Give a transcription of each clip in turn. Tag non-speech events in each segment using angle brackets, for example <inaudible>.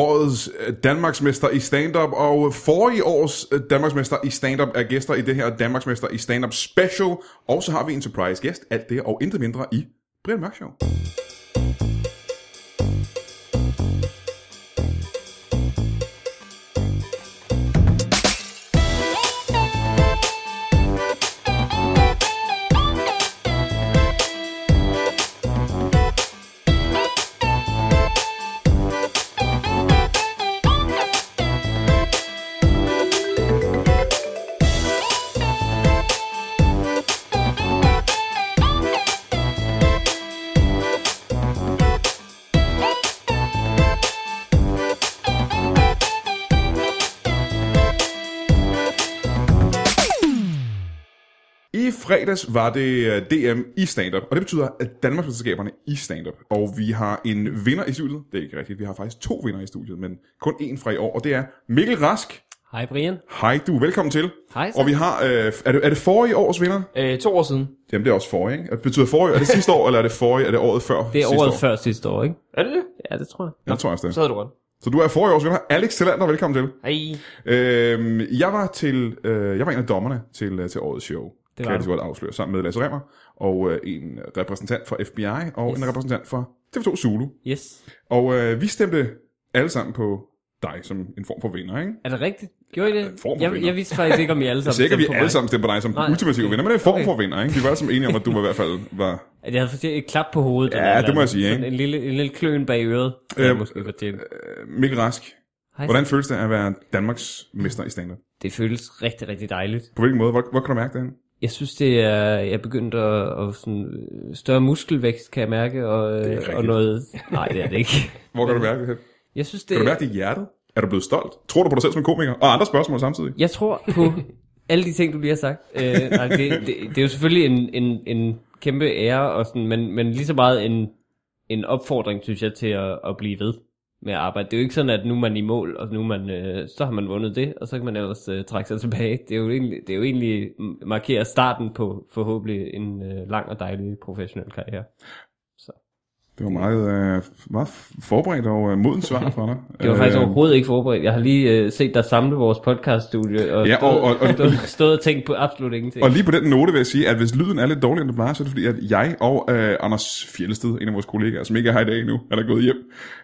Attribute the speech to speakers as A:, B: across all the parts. A: årets øh, Danmarksmester i stand-up, og forrige års øh, Danmarksmester i stand-up er gæster i det her Danmarksmester i stand-up special, og så har vi en surprise gæst, alt det og intet mindre i Brian Mørk Show. I fredags var det øh, DM i stand-up, og det betyder, at Danmarksmesterskaberne i stand-up. Og vi har en vinder i studiet. Det er ikke rigtigt, vi har faktisk to vinder i studiet, men kun en fra i år, og det er Mikkel Rask.
B: Hej Brian.
A: Hej, du er velkommen til.
B: Hej.
A: Og vi har, øh, er, det, er det forrige års vinder?
B: Øh, to år siden.
A: Jamen, det er også forrige, ikke? Det betyder forrige, er det sidste år, eller er det forrige, er det året før?
B: Det er
A: sidste
B: året
A: år?
B: før sidste år, ikke?
C: Er det det?
B: Ja, det tror jeg.
A: Jeg tror også det.
C: Så havde du ret.
A: Så du er forrige års vinder. Alex Talander, velkommen til.
C: Hej.
A: Øhm, jeg var til, øh, jeg var en af dommerne til, øh, til årets show. Det kan
B: Det var
A: jeg
B: du.
A: lige så godt afsløre. Sammen med Lasse Remmer og øh, en repræsentant for FBI og yes.
B: Yes.
A: en repræsentant for TV2 Zulu.
B: Yes.
A: Og øh, vi stemte alle sammen på dig som en form for vinder, ikke?
B: Er det rigtigt? Gjorde I det?
A: en form for
B: Jeg,
A: vinder.
B: jeg vidste faktisk ikke, om I alle sammen
A: Så ikke, at vi
B: stemte på
A: alle
B: mig.
A: sammen stemte på dig som
B: Nej.
A: den ultimative vinder, men det er en form
B: Okay.
A: for vinder, ikke? Vi var alle sammen enige om, at du var i hvert fald var...
B: At jeg havde fortjent et klap på hovedet.
A: Ja,
B: eller et eller
A: det må jeg
B: andet.
A: sige, ikke?
B: Sådan En lille, en lille kløen bag øret. Øh,
A: Øhm,
B: jeg måske fortjent.
A: Øh, Mikkel Rask,
B: Hej.
A: hvordan føles det at være Danmarks mester i stand
B: Det føles rigtig, rigtig dejligt.
A: På hvilken måde? Hvor, hvor kan du mærke det hen?
B: Jeg synes, det er, jeg er begyndt at, at sådan, øh, større muskelvækst, kan jeg mærke, og, øh,
A: rigtigt.
B: og noget... Nej, det er det ikke.
A: Hvor
B: Øh,
A: kan du mærke det hen?
B: <laughs> Jeg synes, det
A: Kan du mærke det i hjertet? Er du blevet stolt? Tror du på dig selv som komiker? Og andre spørgsmål samtidig.
B: Jeg tror <laughs> på alle de ting, du lige har sagt. Øh, nej, det, det, det er jo selvfølgelig en, en, en kæmpe ære, og sådan, men, men lige så meget en, en opfordring, synes jeg, til at, at blive ved med at arbejde. Det er jo ikke sådan, at nu er man i mål, og nu er man, øh, så har man vundet det, og så kan man ellers øh, trække sig tilbage. Det er jo egentlig, det er jo egentlig m- markerer starten på forhåbentlig en øh, lang og dejlig professionel karriere.
A: Det var meget, øh, meget forberedt og øh, moden svar fra dig.
B: <laughs>
A: Øh,
B: Det var faktisk overhovedet ikke forberedt. Jeg har lige øh, set dig samle vores podcaststudie, og,
A: Ja, og- og- og-
B: stået, stået og tænkt på absolut ingenting.
A: Og lige på den note vil jeg sige, at hvis lyden er lidt dårligere end det plejer, så er det fordi, at jeg og øh, Anders Fjellsted, en af vores kollegaer, som ikke er her i dag endnu, han er gået hjem,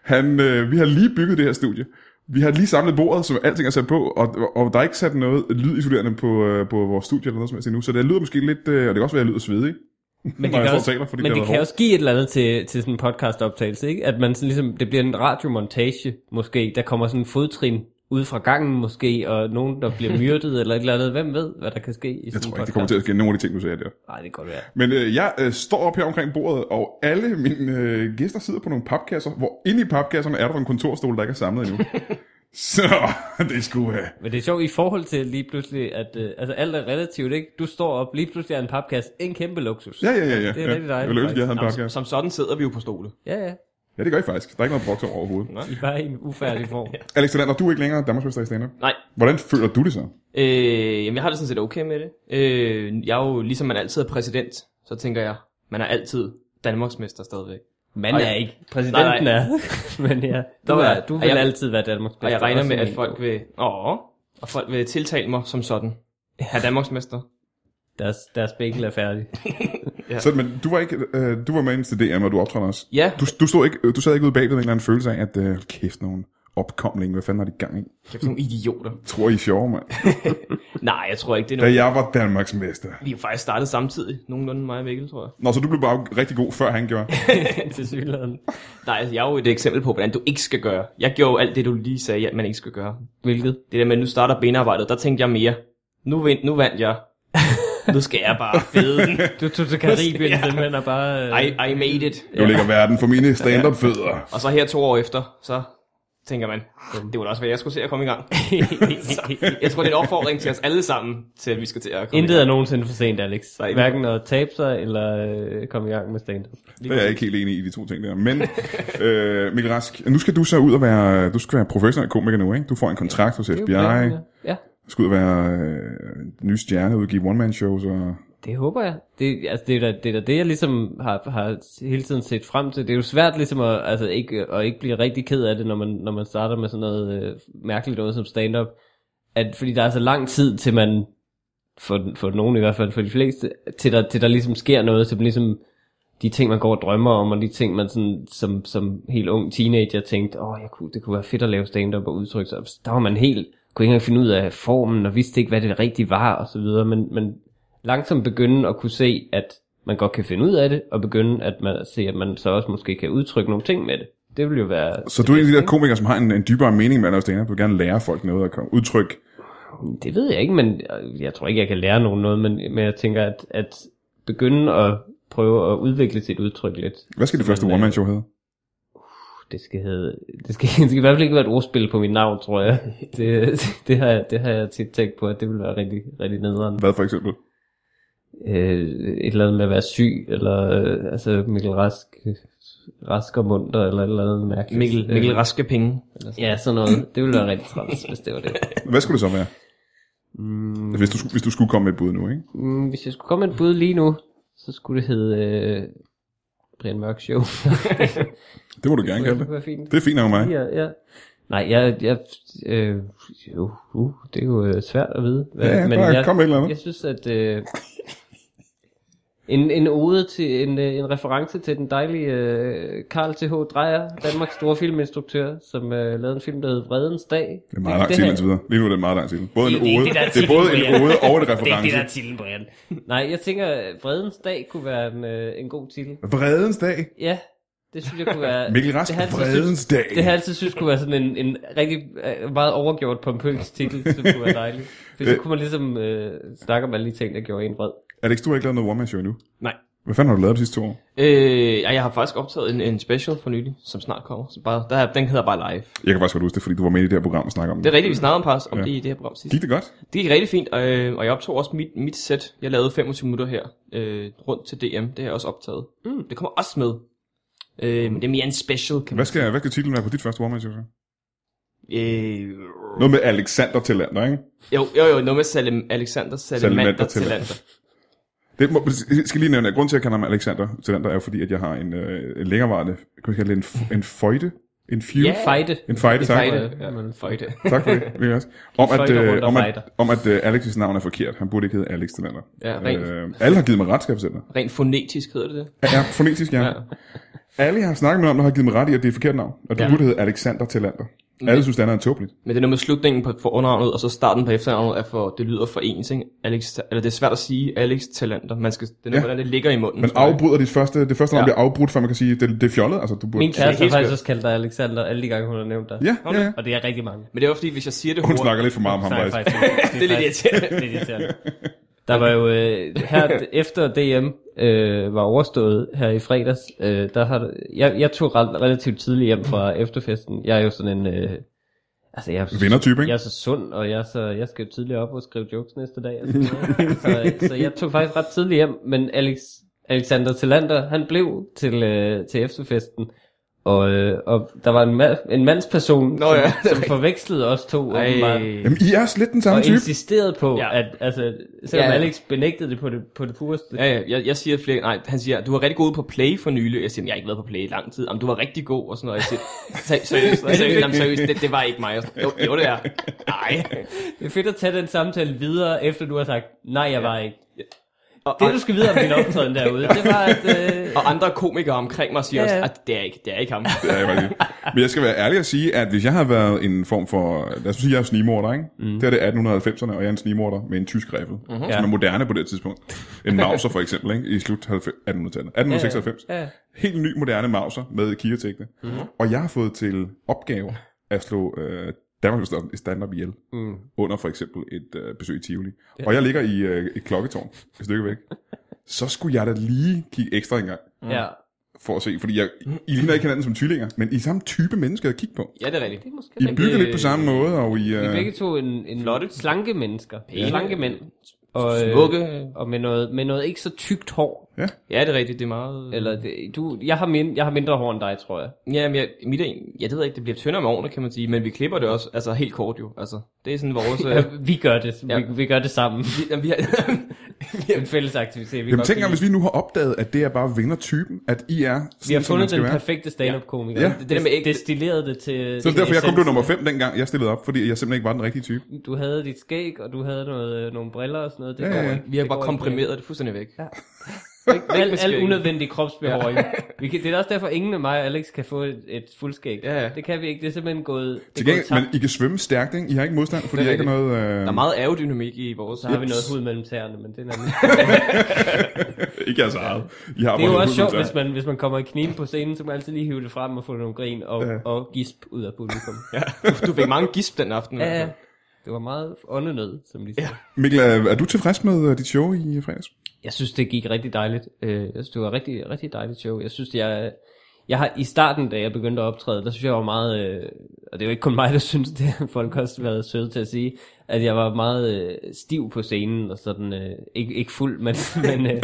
A: han, øh, vi har lige bygget det her studie. Vi har lige samlet bordet, så alting er sat på, og, og der er ikke sat noget lydisolerende på, øh, på vores studie eller noget som helst endnu, så det lyder måske lidt, øh, og det kan også være, at jeg lyder svedig.
B: Men
A: <laughs> når
B: det,
A: jeg
B: kan
A: står
B: også,
A: og taler, fordi
B: men
A: det
B: det,
A: er
B: kan
A: hårdt.
B: også give et eller andet til, til sådan en podcastoptagelse, ikke? At man sådan ligesom, det bliver en radiomontage, måske. Der kommer sådan en fodtrin ud fra gangen, måske, og nogen, der bliver myrdet, eller et eller andet. Hvem ved, hvad der kan ske i
A: Jeg
B: sådan
A: tror
B: en
A: ikke,
B: podcast?
A: det kommer til at ske nogle af de ting, du sagde der.
B: Nej, det kan godt være.
A: Men øh, jeg øh, står op her omkring bordet, og alle mine øh, gæster sidder på nogle papkasser, hvor inde i papkasserne er der en kontorstol, der ikke er samlet endnu. så <laughs> det øh, skulle have.
B: Men det er sjovt i forhold til lige pludselig, at øh, altså alt er relativt, ikke? Du står op, lige pludselig er en papkasse en kæmpe luksus.
A: Ja, ja, ja. ja.
B: Det er rigtig dejligt,
A: Jeg ville ønske, jeg havde en
C: Jamen, som,
A: papkasse.
C: som sådan sidder vi jo på stole.
B: ja. ja.
A: Ja, det gør I faktisk. Der er ikke noget brugt over overhovedet.
B: I er bare i en ufærdig form.
A: Alexander, du er ikke længere Danmarksmester i stand
C: Nej.
A: Hvordan føler du det så?
C: Øh, jamen, jeg har det sådan set okay med det. Øh, jeg er jo, ligesom man altid er præsident, så tænker jeg, man er altid Danmarksmester stadigvæk.
B: Man
C: Ej.
B: er ikke. Præsidenten
C: Nej,
B: er. <laughs> Men ja, du,
C: Der
B: er,
C: er-
B: du
C: og
B: vil
C: jeg-
B: altid være Danmarks bedste.
C: Og jeg regner
B: også
C: med,
B: i
C: at
B: min
C: folk
B: bog.
C: vil... Åh, og folk vil tiltale mig som sådan. Herr Danmarksmester.
B: Deres, deres bækkel er færdig.
C: Ja.
A: Så, men du var, ikke, øh, du var med ind til DM, og du optrådte også.
C: Ja,
A: Du, du, stod ikke, øh, du sad ikke ude bagved med en eller anden følelse af, at øh, kæft, nogen opkomling. Hvad fanden har de gang i?
C: kæft nogle idioter.
A: Tror I er sjove, mand?
C: Nej, jeg tror ikke, det er
A: Da
C: nogen.
A: jeg var Danmarksmester.
C: Vi er jo faktisk startet samtidig, nogenlunde mig og Mikkel, tror jeg.
A: Nå, så du blev bare rigtig god, før han gjorde.
B: til synligheden.
C: Nej, altså, jeg er jo et eksempel på, hvordan du ikke skal gøre. Jeg gjorde jo alt det, du lige sagde, at man ikke skal gøre.
B: Hvilket?
C: det der med, at nu starter benarbejdet, der tænkte jeg mere. Nu, vind, nu vandt <laughs> jeg. nu skal jeg bare fede den.
B: Du tog til Karibien
C: Ja.
B: simpelthen og bare... Øh,
C: I, I made it.
A: Nu ligger verden for mine stand-up-fødder.
C: Og så her to år efter, så tænker man, "Ah, det var da også, hvad jeg skulle se at komme <laughs> i gang. jeg tror, det er en opfordring til os alle sammen, til at vi skal til at komme
B: Intet
C: i
B: er
C: gang.
B: nogensinde for sent, Alex.
C: Nej.
B: Hverken at tabe sig eller øh, komme i gang med stand
A: Det er jeg ikke helt enig i, de to ting der. Men, øh, Mikkel Rask, nu skal du så ud og være, du skal være professionel komiker nu, ikke? Du får en kontrakt hos FBI,
B: Ja.
A: du skal ud og være øh, den nye stjerne, udgive one-man-shows og
B: Det håber jeg. Det, altså, det, er da, det er da det, jeg ligesom har, har hele tiden set frem til. Det er jo svært ligesom at, altså, ikke, at ikke blive rigtig ked af det, når man, når man starter med sådan noget øh, mærkeligt noget som stand-up. At, fordi der er så lang tid, til man, for, for nogen i hvert fald, for de fleste, til der, til der ligesom sker noget, til man ligesom de ting, man går og drømmer om, og de ting, man sådan, som, som helt ung teenager tænkte, åh, jeg kunne, det kunne være fedt at lave stand-up og udtrykke sig. Der var man helt, kunne ikke engang finde ud af formen, og vidste ikke, hvad det rigtigt var, og så videre, men, men langsomt begynde at kunne se, at man godt kan finde ud af det, og begynde at man, se, at man så også måske kan udtrykke nogle ting med det. Det vil jo være...
A: Så du er en af de der komikere, som har en, en dybere mening med at lave stand-up. Du vil gerne lære folk noget og komme- udtrykke
B: Det ved jeg ikke, men øh, jeg tror ikke, jeg kan lære nogen noget, men, men jeg tænker, at, at begynde at prøve at udvikle sit udtryk lidt.
A: Hvad skal det første one-man-show hedde?
B: Det skal, hedde, det, skal, <laughs> det skal i hvert fald ikke være et ordspil på mit navn, tror jeg. <laughs> Det, det, har, jeg- det har jeg tit tænkt på, at det ville være rigtig, rigtig nederen.
A: Hvad for eksempel?
B: øh, et eller andet med at være syg, eller øh, altså Mikkel Rask, Rask og Munter, eller et eller andet mærkeligt.
C: Mikkel, Mikkel Raske penge.
B: Ja, sådan noget. Det ville være rigtig træls, hvis det var
C: <laughs>
B: det.
A: Hvad skulle det så
B: <laughs>
A: være? Mm. Hvis, du, skulle- hvis du skulle komme med et bud nu, ikke?
B: Mm, hvis jeg skulle komme med et bud lige nu, så skulle det hedde øh, Brian Mørk
A: <laughs>
B: Show.
A: Det må du gerne kalde
B: det
A: det.
B: kunne være fint.
A: Det er fint nok mig.
B: Ja, ja. Nej, jeg, jeg øh, jo, uh, det er jo øh, svært at vide. Hvad,
A: Ja, ja, bare
B: jeg,
A: kom med et eller andet.
B: Jeg synes, at øh, en, en ode til, en, øh, en reference til den dejlige øh, Carl T.H. Dreyer, Danmarks store filminstruktør, som øh, lavede en film, der hed Vredens Dag.
A: Det er meget lang
B: det,
A: tid
B: har-
A: indtil videre. Lige nu er det en meget lang tid. Både en
B: det er ikke
A: ode,
B: det, der er
A: det er både en
B: titlen, Brian.
A: ode og en
B: <laughs> det er ikke det,
A: reference.
B: der er titlen, Brian. Nej, jeg tænker, at Vredens Dag kunne være en, øh, en god titel.
A: Vredens dag.
B: Ja, det synes jeg kunne være...
A: <laughs> Mikkel Rask,
B: det har jeg altid
A: Vredens dag.
B: Det har jeg altid synes kunne være sådan en, en rigtig øh, meget overgjort pompøs titel, som kunne være dejlig. For så
A: Øh.
B: kunne man ligesom øh, snakke om alle de ting, der gjorde en vred.
A: Er det ikke, du har ikke lavet noget one-man-show endnu?
C: Nej.
A: Hvad fanden har du lavet de sidste to år?
C: Øh, ja, jeg har faktisk optaget en, en special for nylig, som snart kommer. Så bare, der, er- den hedder bare live.
A: Jeg kan faktisk godt huske det, fordi du var med i det her program og snakkede om
C: Det er rigtigt, vi snakkede om, Pars, om
A: Ja.
C: ja. det i det her program sidst.
A: Gik det godt?
C: Det gik rigtig fint, øh, og jeg optog også mit, mit sæt. Jeg lavede 25 minutter her øh, rundt til DM. Det har jeg også optaget. Mm. Det kommer også med. Øh, men det er mere en special, kan man
A: Hvad skal, hvad skal titlen være på dit første one-man-show så?
C: Øh,
A: Noget med Alexander Tillander, ikke?
C: jo, jo, jo, noget med Salim, Alexander Salamander
A: Salamander
C: til
A: Tillander. Det må, jeg skal lige nævne, at grunden til, at jeg kalder ham Alexander Tillander, er jo fordi, at jeg har en, øh, en længerevarende, kan man kalde det, en, f- en føjte? En feud?
B: Ja, fejde.
A: En fejde, tak.
C: Fejde. Ja, man fejde.
A: Tak for det, Mikkel Rask. Om at,
B: Føjter rundt
A: øh,
B: og
A: om at,
B: fejder.
A: om at øh, Alex' navn er forkert. Han burde ikke hedde Alex Tillander.
C: Ja, rent,
A: Øh, alle har givet mig ret, skal jeg fortælle dig.
C: rent fonetisk hedder det det.
A: Ja, Ja, fonetisk, ja. ja.
C: Ja.
A: Alle, jeg har snakket med om, der har givet mig ret i, at det er et forkert navn. Og det ja. burde hedde Alexander Tillander.
B: Mm.
A: Alle synes, det andet er tåbeligt.
C: Men det er noget med slutningen på for undernavnet, og så starten på efternavnet er for, det lyder for ens, ikke? Alex, eller det er svært at sige Alex Talander. Man skal, det er noget,
A: Ja.
C: ja. hvordan det ligger i munden.
A: Man
C: tror jeg.
A: afbryder dit første, det første navn
C: Ja.
A: ja. bliver afbrudt, før man kan sige, det, det er fjollet. Altså, du burde...
B: Min kæreste har
C: helt
B: faktisk
C: skørt.
B: også kaldt dig Alexander, alle de gange, hun har nævnt dig.
A: Ja, ja, ja.
B: Og det er rigtig mange.
C: Men det er jo fordi, hvis jeg siger det
A: Hun
C: hurtigt-
A: snakker lidt for meget om ham,
B: Nej,
A: faktisk.
B: faktisk. ikke. Det
C: lidt
B: faktisk-
C: irriterende.
B: <laughs> lidt irriterende. Der var jo øh, her efter DM øh, var overstået her i fredags, øh, der har jeg, jeg tog ret, relativt tidligt hjem fra efterfesten. Jeg er jo sådan en øh, altså jeg er, så-
A: Vindertype, ikke?
B: jeg er så sund og jeg er så jeg skal jo tidligere op og skrive jokes næste dag. Og sådan noget. så, så jeg tog faktisk ret tidligt hjem, men Alex Alexander Tillander, han blev til øh, til efterfesten. Og, øh, og der var en, ma- en mandsperson, Nå,
C: ja, <laughs> det er
B: som, som
C: rigtigt.
B: forvekslede os to. åbenbart.
C: Ej.
A: Jamen, I er også lidt den samme
B: Og
A: type.
B: insisterede på,
C: Ja.
B: ja. at altså, selvom
C: Ja,
B: ja.
C: ja.
B: Alex benægtede det på det, på det pureste. Ja.
C: Ja, ja, jeg, jeg siger flere, nej, han siger, du var rigtig god på play for nylig. Jeg siger, jeg har ikke været på play i lang tid. Jamen, du var rigtig god, og sådan noget. Jeg siger, "Se- seriøst, seriøst, jamen, seriøst det, det, var ikke mig. Jeg sådan, Jo, jo, det er. Nej.
B: Det er fedt at tage den samtale videre, efter du har sagt, nej, jeg var ikke.
C: Og,
B: Det, du skal vide om din optræden derude, det var, at... Øh,
C: og andre komikere omkring mig siger
B: Ja,
C: ja,
B: ja.
C: også, at det er ikke, det er ikke ham.
A: Det er jeg faktisk ikke. Men jeg skal være ærlig og sige, at hvis jeg havde været en form for... Lad os sige, jeg er snigmorder, ikke? Mm. Det er det 1890'erne, og jeg er en snigmorder med en tysk riffel, mm-hmm. som
B: Mhm. Ja.
A: er moderne på det tidspunkt. En mauser for eksempel, ikke? I slut 90 1800-tallet. 1896.
B: Ja, ja.
A: Helt ny moderne mauser med kiretægte.
B: Mhm.
A: Mm-hmm. Og jeg har fået til opgave at slå øh, Danmarks i stand-up ihjel. Mm. Under for eksempel et øh, besøg i Tivoli. Og jeg ligger i øh, et klokketårn et stykke
B: <laughs>
A: væk. Så skulle jeg da lige kigge ekstra en gang
B: ja.
A: for at se, fordi jeg, I ligner ikke hinanden som tvillinger, men I er samme type mennesker at kigge på.
C: Ja, det er rigtigt.
B: Det er måske
A: I
B: rigtigt.
A: bygger lidt på samme måde, og I...
B: Vi er
A: Øh,
B: begge to en, en
C: Flotte.
B: slanke mennesker. Ja. Slanke mænd. Og, øh,
C: Smukke.
B: og med noget, med noget ikke så tykt hår.
C: Ja, det er rigtigt, det er meget...
B: Eller det, du, jeg, har min, jeg har mindre hår end dig, tror jeg.
C: Ja, men jeg, mit er, en- ja, det ved jeg ikke, det bliver tyndere med årene, kan man sige, men vi klipper det også, altså helt kort jo, altså, det er sådan vores...
B: Ja, vi gør det.
C: Ja.
B: Vi, vi gør det sammen.
C: vi, jamen, vi har, <laughs>
B: en fælles aktivitet. Vi
A: Jamen
B: godt
A: tænk
B: kan
A: engang,
B: lide.
A: hvis vi nu har opdaget, at det er bare vindertypen, at I er sådan,
B: vi har
A: som man
B: fundet
A: skal
B: den
A: være.
B: perfekte stand-up-komiker.
A: Ja.
B: Ja. Det, det,
C: der med
B: det,
C: ægte-
B: destillerede det til...
A: Så det er derfor, jeg kom
B: til
A: blev nummer 5 dengang, jeg stillede op, fordi jeg simpelthen ikke var den rigtige type.
B: Du havde dit skæg, og du havde noget, øh, nogle briller og sådan noget. Det
A: Ja,
B: går
A: ja.
B: ikke.
C: Vi har
B: Det
C: bare
B: går
C: komprimeret det fuldstændig væk.
B: Ikke. Ikke-
C: med
B: Al,
C: skæg.
B: al unødvendig kropsbehåring. Ja. Vi kan, det er også derfor, ingen af mig og Alex kan få et, et fuldskæg.
C: Ja, ja.
B: Det kan vi ikke. Det er simpelthen gået...
A: Til
B: Det er gået
A: gengæld,
B: tabt.
A: men I kan svømme stærkt, ikke? I har ikke modstand, fordi
C: Det
A: jeg
C: er
A: ikke har noget... Øh...
C: Der er meget aerodynamik i vores...
B: Så har vi noget hud mellem tæerne, men det er nemlig...
A: <laughs> Ikke jeres eget. I har
B: Det er jo
A: vores
B: også sjovt,
A: udgangspunkt.
B: hvis man, hvis man kommer i kniben på scenen, så kan man altid lige hive det frem og få nogle grin og,
A: Ja.
B: ja. og gisp ud af publikum. Ja,
C: Du fik mange gisp den aften. i hvert
B: ja.
C: fald.
B: Det var meget åndenød, som de sagde. Ja.
A: Mikkel, er er du tilfreds med øh, dit show i øh, fredags?
B: Jeg synes, det gik rigtig dejligt. Øh, Jeg synes, det var et rigtig, rigtig dejligt show. Jeg synes, jeg, jeg har i starten, da jeg begyndte at optræde, der synes jeg jeg var meget, øh, og det er jo ikke kun mig, der <laughs> synes det, folk har også været søde til at sige, at jeg var meget øh, stiv på scenen, og sådan, øh, ikke, ikke fuld, men, <laughs> men øh,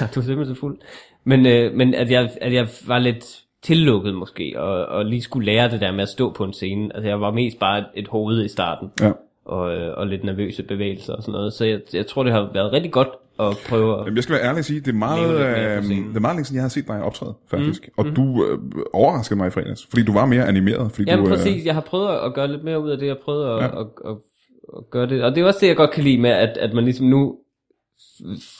B: ja, du er simpelthen så fuld, men, øh, men at, jeg, at jeg var lidt tillukket måske, og, og lige skulle lære det der med at stå på en scene. Altså, jeg var mest bare et, et hoved i starten
A: Ja.
B: og, øh, og lidt nervøse bevægelser og sådan noget. Så jeg, jeg tror, det har været rigtig godt at prøve at...
A: Jamen, jeg skal være ærlig og sige, det er meget,
B: Leve lidt mere på
A: øh,
B: scenen. Mhm.
A: det er meget længe siden, jeg har set dig optræde, faktisk. Mm. Og du øh, overraskede mig i fredags, fordi du var mere animeret. Fordi
B: Jamen
A: du, øh,
B: præcis, jeg har prøvet at gøre lidt mere ud af det, jeg har prøvet at, ja. at, at, at gøre det. Og det er også det, jeg godt kan lide med, at, at man ligesom nu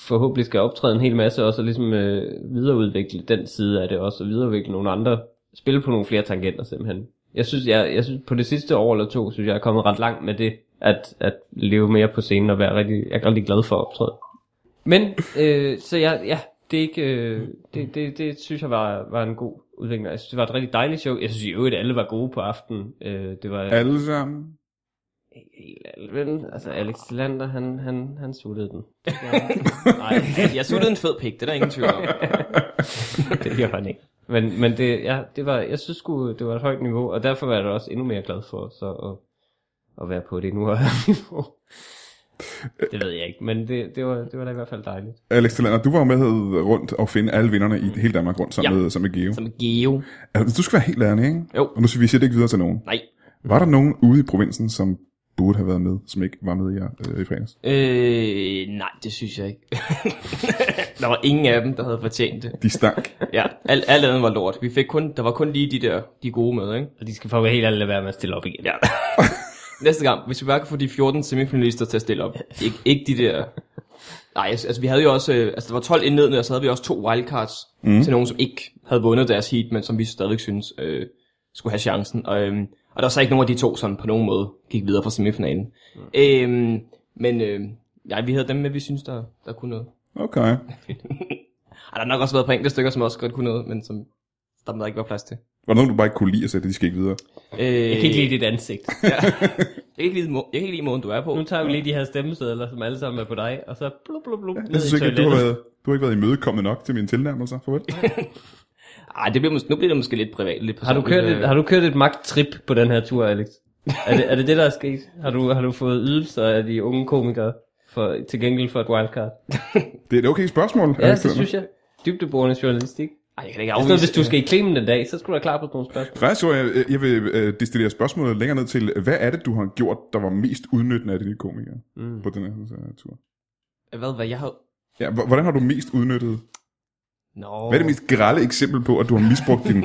B: forhåbentlig skal optræde en hel masse også, og ligesom øh, videreudvikle den side af det også, og videreudvikle nogle andre, spille på nogle flere tangenter simpelthen. Jeg synes, jeg, jeg synes på det sidste år eller to, synes jeg, jeg er kommet ret langt med det, at, at leve mere på scenen og være rigtig, jeg er rigtig glad for at optræde. Men, øh, så jeg, ja, det er ikke, øh, det, det, det synes jeg var, var en god udvikling. Jeg synes, det var et rigtig dejligt show. Jeg synes i øvrigt, at alle var gode på aftenen. Øh, det var ja.
A: Alle sammen.
B: helt alven. Altså, Alex Lander, han, han, han suttede den. Ja. Nej,
C: Jeg suttede en fed pik, det er der ingen tvivl om.
B: det gjorde han ikke. Men, men det, ja, det var, jeg synes sgu, det var et højt niveau, og derfor var jeg da også endnu mere glad for så at, at være på det nu højere <laughs> niveau. Det ved jeg ikke, men det, det, var, det var da i hvert fald dejligt.
A: Alex Tillander, du var jo med øh, rundt og finde alle vinderne i hele Danmark rundt sammen,
C: Ja.
A: med, sammen med Geo.
C: Som Geo.
A: Altså, du skal være helt ærlig, ikke?
C: Jo.
A: Og nu skal vi sige det ikke videre til nogen.
C: Nej.
A: Var
B: Mhm.
A: der nogen ude i provinsen, som burde have været med, som ikke var med i, øh, i fredags?
C: Øh, nej, det synes jeg ikke. <laughs> der var ingen af dem, der havde fortjent det.
A: De stank.
C: Ja, alt, alt andet var lort. Vi fik kun, der var kun lige de der, de gode med, ikke?
B: Og de skal få helt alle være med at stille op igen.
C: Ja. <laughs> Næste gang, hvis vi bare kan få de 14 semifinalister til at stille op. Ik- ikke de der... Nej, altså altså, vi havde jo også... øh, Altså, der var 12 indledende, og så havde vi også to wildcards mm. til nogen, som ikke havde vundet deres heat, men som vi stadigvæk synes øh, skulle have chancen. Og, øhm, og der var så ikke nogen af de to, som på nogen måde gik videre fra semifinalen. Mm. Øhm, men øh, ja, vi havde dem med, vi synes, der, der kunne noget.
A: Okay.
C: Ej, der har nok også været på enkelte stykker, som også godt kunne noget, men som der der ikke var plads til.
A: Var der nogen, du bare ikke kunne lide at sætte, de skal ikke videre?
C: Øh, jeg
B: Jeg kan ikke lide dit ansigt.
C: Jeg kan ikke lide, må- jeg kan ikke lide måden, du er på.
B: Nu tager vi lige de her stemmesedler, som alle sammen er på dig, og så blub, blub, blub,
A: Jeg
B: ned
A: synes
B: i
A: ikke, at du har,
B: toilettet.
A: været, du har ikke været imødekommende nok til mine tilnærmelser, farvel.
C: Ej, det bliver, mås- nu bliver det måske lidt privat. Lidt
B: Har du, kørt
C: personligt, øh,
B: et, har du kørt et magttrip på den her tur, Alex? Er det, er det det, der er sket? Har du, har du fået ydelser af de unge komikere for, til gengæld for et wildcard?
A: Det er et okay spørgsmål.
B: Ja, det synes jeg. Dybdeborende journalistik.
C: Ej, jeg kan da ikke
B: Og
C: afvise.
B: sådan, hvis du skal i klemmen den dag, så skal du være klar på nogle spørgsmål.
A: Faktisk tror jeg, jeg vil øh, destillere spørgsmålet længere ned til, hvad er det, du har gjort, der var mest udnyttende af dine komikere mm. på den her øh, tur?
C: Hvad, hvad jeg har...
A: Ja, h- hvordan har du mest udnyttet?
C: Nå,
A: Hvad er det mest grælde eksempel på, at du har misbrugt
B: <laughs>
A: din,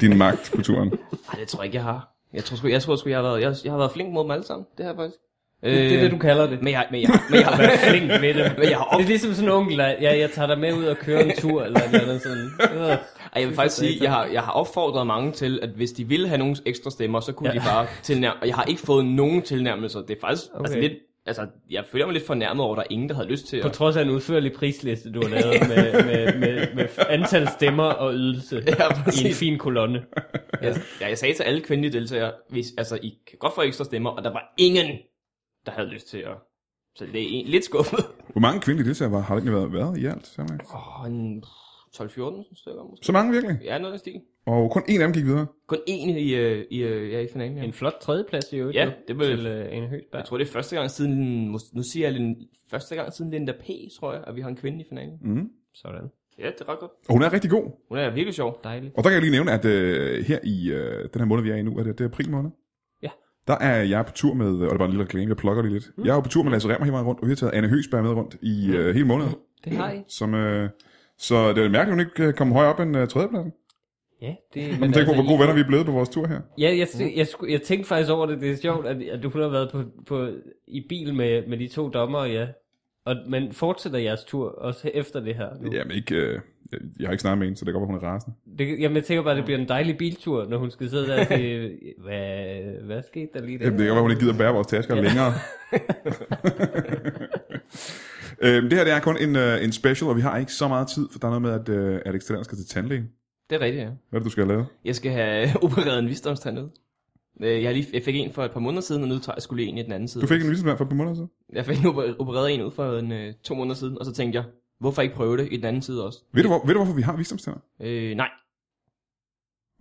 A: din magt på turen?
C: Ej, det tror jeg ikke, jeg har. Jeg tror sgu, jeg, tror, sgu, jeg, har, været, jeg, jeg har været flink mod dem alle sammen. Det har jeg faktisk. Øh,
B: Det er det, du kalder det.
C: Men jeg, men jeg, men jeg,
B: <laughs>
C: men jeg,
B: Flink ved det.
C: men jeg har op...
B: Det er ligesom sådan en onkel, der, ja, jeg tager dig med ud og kører en tur, eller et eller andet sådan. Øh.
C: Ej, jeg vil faktisk sige, jeg har, jeg har opfordret mange til, at hvis de ville have nogle ekstra stemmer, så kunne ja.
B: Ja.
C: de bare tilnærme. Og jeg har ikke fået nogen tilnærmelser. Det er faktisk okay. altså,
B: Okay.
C: lidt... Altså, jeg føler mig lidt fornærmet over, at der er ingen, der havde lyst til
B: På
C: at...
B: trods af en udførlig prisliste, du har lavet med, med, med, med antal stemmer og <laughs> ydelse
C: Ja,
B: i en
C: præcis.
B: fin kolonne.
C: Jeg, ja, jeg sagde til alle kvindelige deltagere, hvis, altså, I kan godt få ekstra stemmer, og der var ingen, der havde lyst til at... Så det er en, lidt skuffet.
A: Hvor mange kvindelige deltagere var- har der egentlig været, været i alt? Sammen?
C: Åh, en 12-14 stykker måske.
A: Så mange virkelig?
C: Ja, noget af stil.
A: Og kun en af dem gik videre.
C: Kun én i, øh, i, øh, ja, i finalen, ja.
B: En flot tredjeplads i øvrigt.
C: Ja,
B: jo,
C: det blev-
B: Til øh, en højt
C: Jeg tror, det er første gang siden, mås- nu siger jeg, Lin- første gang siden Linda P, tror jeg, at vi har en kvinde i finalen.
A: Mm.
B: Sådan.
C: Ja, det er ret godt.
A: Og hun er rigtig god.
C: Hun er virkelig sjov.
B: Dejligt.
A: Og der kan jeg lige nævne, at øh, her i øh, den her måned, vi er i nu, er det, det er april måned.
B: Ja.
A: Der er jeg på tur med, øh, og det er bare en lille reklame, jeg plukker det lidt. Jeg er jo på tur med Lasse Remmer hele vejen rundt, og vi har taget Anne Høsberg med rundt i øh, hele måneden.
B: Det har I.
A: Som, øh, så det er mærkeligt, at hun ikke øh, kom højere op end øh, tredjepladsen.
B: Ja, det,
A: Men tænk på, hvor gode venner vi er blevet på vores tur her.
B: Ja, jeg, jeg, jeg, sku- jeg tænkte faktisk over det. Det er sjovt, at, at du hun har været på, på, i bil med, med de to dommere, ja. Og, men fortsætter jeres tur også efter det her? Nu?
A: Jamen ikke, øh, jeg, jeg har ikke snakket med hende, så det går, at hun er rasende.
B: Det, jamen, jeg tænker bare, at det bliver en dejlig biltur, når hun skal sidde der og sige, <laughs> hvad, hvad skete der lige der?
A: Jamen, det kan godt være, hun ikke gider bære vores tasker længere. øhm, det her det er kun en, øh, en special, og vi har ikke så meget tid, for der er noget med, at øh, Alex Tilland skal til tandlægen.
C: Det er rigtigt, ja.
A: Hvad er det, du skal have lavet?
C: Jeg skal have øh, opereret en visdomstand ud. Øh, Jeg, har lige, jeg fik en for et par måneder siden, og nu tager- skulle jeg en i den anden side.
A: Du fik en visitmand for et par måneder siden.
C: Jeg fik oper- opereret en ud for en, øh, to måneder siden, og så tænkte jeg, hvorfor ikke prøve det i den anden side også?
A: Ved du, hvor, ved du hvorfor vi har visdomstænder?
C: Øh, nej.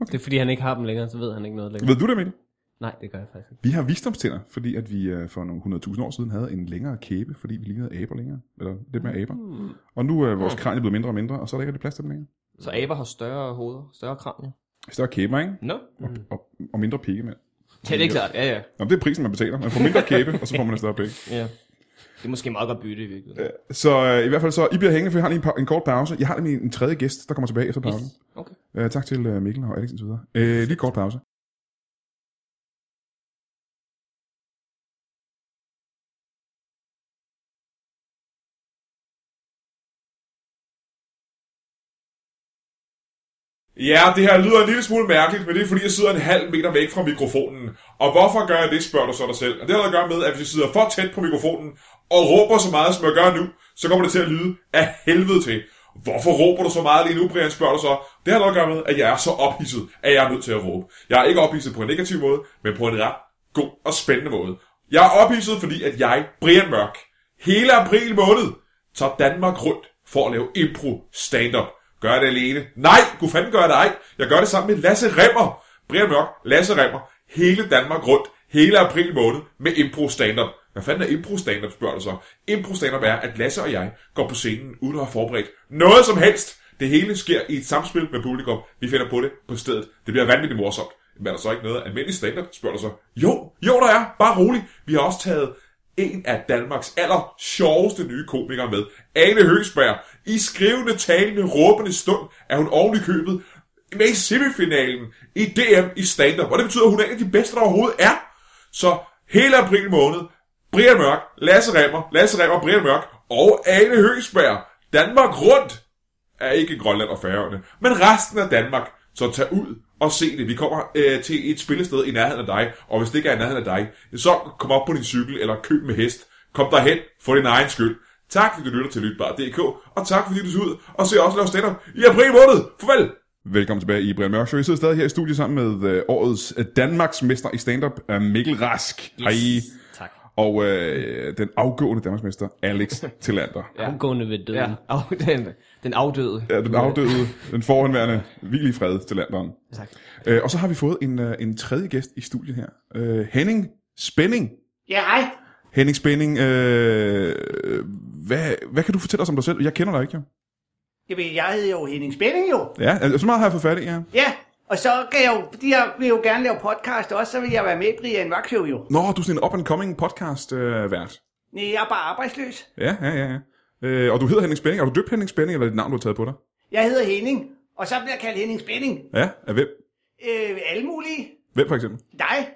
B: Det er fordi, han ikke har dem længere, så ved han ikke noget længere.
A: Ved du det, Mikkel?
B: Nej, det gør jeg faktisk ikke.
A: Vi har visdomstænder, fordi at vi øh, for nogle 100.000 år siden havde en længere kæbe, fordi vi lignede aber længere. Eller lidt mere aber.
B: Hmm.
A: Og nu er vores kranje blevet mindre og mindre, og så er der ikke rigtig plads til dem længere.
C: Så aber har større hoveder, større kranier.
A: Større kæber, ikke?
C: Nå? No?
A: Og, og mindre pikkemænd.
C: Ja, det er klart. Ja, ja.
A: Nå, men det er prisen, man betaler. Man får mindre kæbe, og så får man en større pik.
C: ja. Det er måske meget godt bytte i virkeligheden.
A: Så øh, i hvert fald så, I bliver hængende, for jeg har lige en, pa- en kort pause. Jeg har nemlig en tredje gæst, der kommer tilbage efter pausen.
C: Okay.
A: Øh, tak til øh, Mikkel og Alex og så videre. Øh, lige en kort pause.
D: Ja, det her lyder en lille smule mærkeligt, men det er fordi, jeg sidder en halv meter væk fra mikrofonen. Og hvorfor gør jeg det, spørger du så dig selv. Og det har noget at gøre med, at hvis jeg sidder for tæt på mikrofonen og råber så meget, som jeg gør nu, så kommer det til at lyde af helvede til. Hvorfor råber du så meget lige nu, Brian, spørger du så. Det har noget at gøre med, at jeg er så ophidset, at jeg er nødt til at råbe. Jeg er ikke ophidset på en negativ måde, men på en ret god og spændende måde. Jeg er ophidset, fordi at jeg, Brian Mørk, hele april måned, tager Danmark rundt for at lave impro stand-up. Gør jeg det alene? Nej, kunne fanden gøre det ej. Jeg gør det sammen med Lasse Remmer. Brian Mørk, Lasse Remmer, hele Danmark rundt, hele april måned med impro stand-up. Hvad fanden er impro stand-up, spørger du så? Impro stand-up er, at Lasse og jeg går på scenen uden at have forberedt noget som helst. Det hele sker i et samspil med publikum. Vi finder på det på stedet. Det bliver vanvittigt morsomt. Men er der så ikke noget almindeligt stand-up, spørger du så? Jo, jo der er. Bare rolig. Vi har også taget en af Danmarks aller sjoveste nye komikere med, Ane Høgsberg. I skrivende, talende, råbende stund er hun oven i købet med i semifinalen i DM i stand-up. Og det betyder, at hun er en af de bedste, der overhovedet er. Så hele april måned, Brian Mørk, Lasse Remmer, Lasse Remmer, Brian Mørk og Ane Høgsberg. Danmark rundt er ikke Grønland og Færøerne, men resten af Danmark. Så tag ud og se det. Vi kommer øh, til et spillested i nærheden af dig, og hvis det ikke er i nærheden af dig, så kom op på din cykel eller køb med hest. Kom derhen for din egen skyld. Tak fordi du lytter til Lytbar.dk, og tak fordi du så ud og ser os lave stand i april måned. Farvel!
A: Velkommen tilbage i Brian Mørk Show. Jeg sidder stadig her i studiet sammen med øh, årets øh, Danmarks mester i stand-up, øh, Mikkel Rask. Yes. Hej.
B: Tak.
A: Og øh, den afgående Danmarksmester, Alex Tillander.
C: Ja.
B: Omgående ved døden.
C: Ja,
B: Ja.
C: og den, den afdøde.
A: Ja, den afdøde, den forhenværende, hvil i fred til landeren.
C: Tak.
A: Øh, og så har vi fået en, øh, en tredje gæst i studiet her. Øh, Henning Spænding.
E: Ja, hej.
A: Henning Spænding, øh, hvad, hvad kan du fortælle os om dig selv? Jeg kender dig ikke, jo.
E: Jamen, jeg hedder jo Henning Spænding jo.
A: Ja, altså, så meget har jeg fået fat i, ja.
E: Ja, og så kan jeg jo, fordi jeg vil jo gerne lave podcast også, så vil jeg være med i Brian Vaksøv jo.
A: Nå, du er sådan en up-and-coming podcast-vært.
E: Nej, jeg er bare arbejdsløs.
A: ja, ja, ja. ja. Øh, og du hedder Henning Spænding. Er du døbt Henning Spænding, eller er det et navn, du har taget på dig?
E: Jeg hedder Henning, og så bliver jeg kaldt Henning Spænding.
A: Ja, af hvem?
E: Øh, alle mulige.
A: Hvem for eksempel?
E: Dig.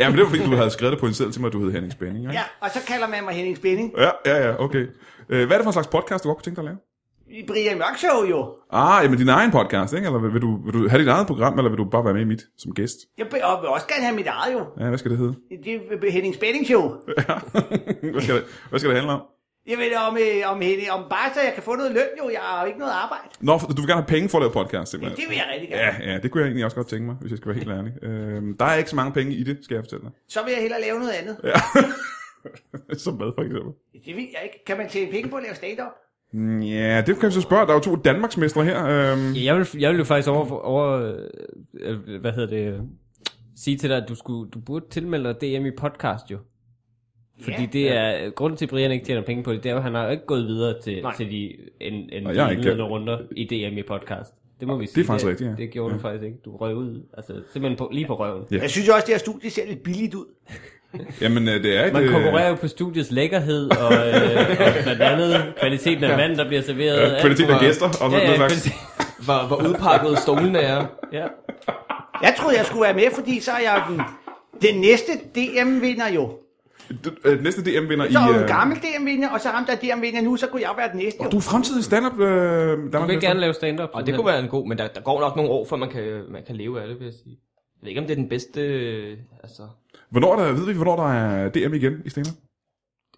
A: Ja, men det var fordi, du havde skrevet det på en selv til mig, at du hed Henning Spænding, ikke?
E: Ja, og så kalder man mig Henning Spænding.
A: Ja, ja, ja, okay. Øh, hvad er det for en slags podcast, du godt kunne tænke dig at lave?
E: I Brian Mørkshow jo.
A: Ah, jamen din egen podcast, ikke? Eller vil vil du, vil du have dit eget program, eller vil du bare være med i mit som gæst?
E: Jeg vil og vil også gerne have mit eget jo.
A: Ja, hvad skal det
B: <laughs>
A: hedde?
E: Det er Henning Spænding Show.
A: hvad, skal det, hvad skal det handle om?
E: Jeg ved om, øh, om, Henning, om bare så jeg kan få noget løn jo. Jeg har jo ikke noget arbejde.
A: Nå, for- du vil gerne have penge for at lave podcast,
E: Men
A: simpelthen.
E: det vil jeg rigtig gerne.
A: Ja, ja, det kunne jeg egentlig også godt tænke mig, hvis jeg skal være helt ærlig. Øhm, der er ikke så mange penge i det, skal jeg fortælle dig.
E: Så vil jeg hellere lave noget andet.
A: Ja. <laughs> Som mad, for eksempel.
E: Det ved jeg ikke. Kan man tjene penge på at lave stand-up?
A: Mm, Ja, det kan vi så spørge. Der er jo to Danmarksmestre her. Øhm,
B: Jeg vil, jeg vil jo faktisk over, over øh, hvad hedder det, øh, sige til dig, at du, skulle, du burde tilmelde dig DM i podcast jo. Fordi
E: Ja.
B: det er, grunden til, at Brian ikke tjener penge på det, det er jo, at han har jo ikke gået videre til, til de, en, en
A: Og
B: de
A: jeg er ikke-
B: indledende runder i DM i podcast. Det må vi sige.
A: er faktisk
B: det,
A: rigtigt, ja.
B: Det gjorde ja. du faktisk ikke. Du røg ud, altså simpelthen på, lige på røven.
A: Ja.
E: Jeg synes jo også, det her studie ser lidt billigt ud.
A: Jamen, øh, det er et...
B: Man
A: øh,
B: konkurrerer jo på studiets lækkerhed, og, øh, og blandt andet kvaliteten af vand, der bliver serveret.
A: Ja,
B: alt
A: kvaliteten øh, af
B: fra-
A: gæster, og
B: Ja,
A: sådan noget
B: ja,
A: slags.
B: kvalitet-
C: Hvor, hvor udpakket stolen er.
B: ja.
E: Jeg troede, jeg skulle være med, fordi så er jeg den, den næste DM-vinder jo.
A: D- øh, Næste DM-vinder i...
E: Så er jo en
A: øh,
E: gammel DM-vinder, og så ham, der er DM-vinder nu, så kunne jeg jo være den næste.
A: Du er fremtidig stand-up... Øh,
B: Du vil gerne lave stand-up.
C: Og det kunne være en god, men der, der går nok nogle år, før man kan, man kan leve af det, vil jeg sige. Jeg ved ikke, om det er den bedste... øh, Altså,
A: Hvornår er der, ved vi, hvornår der er DM igen i stand-up?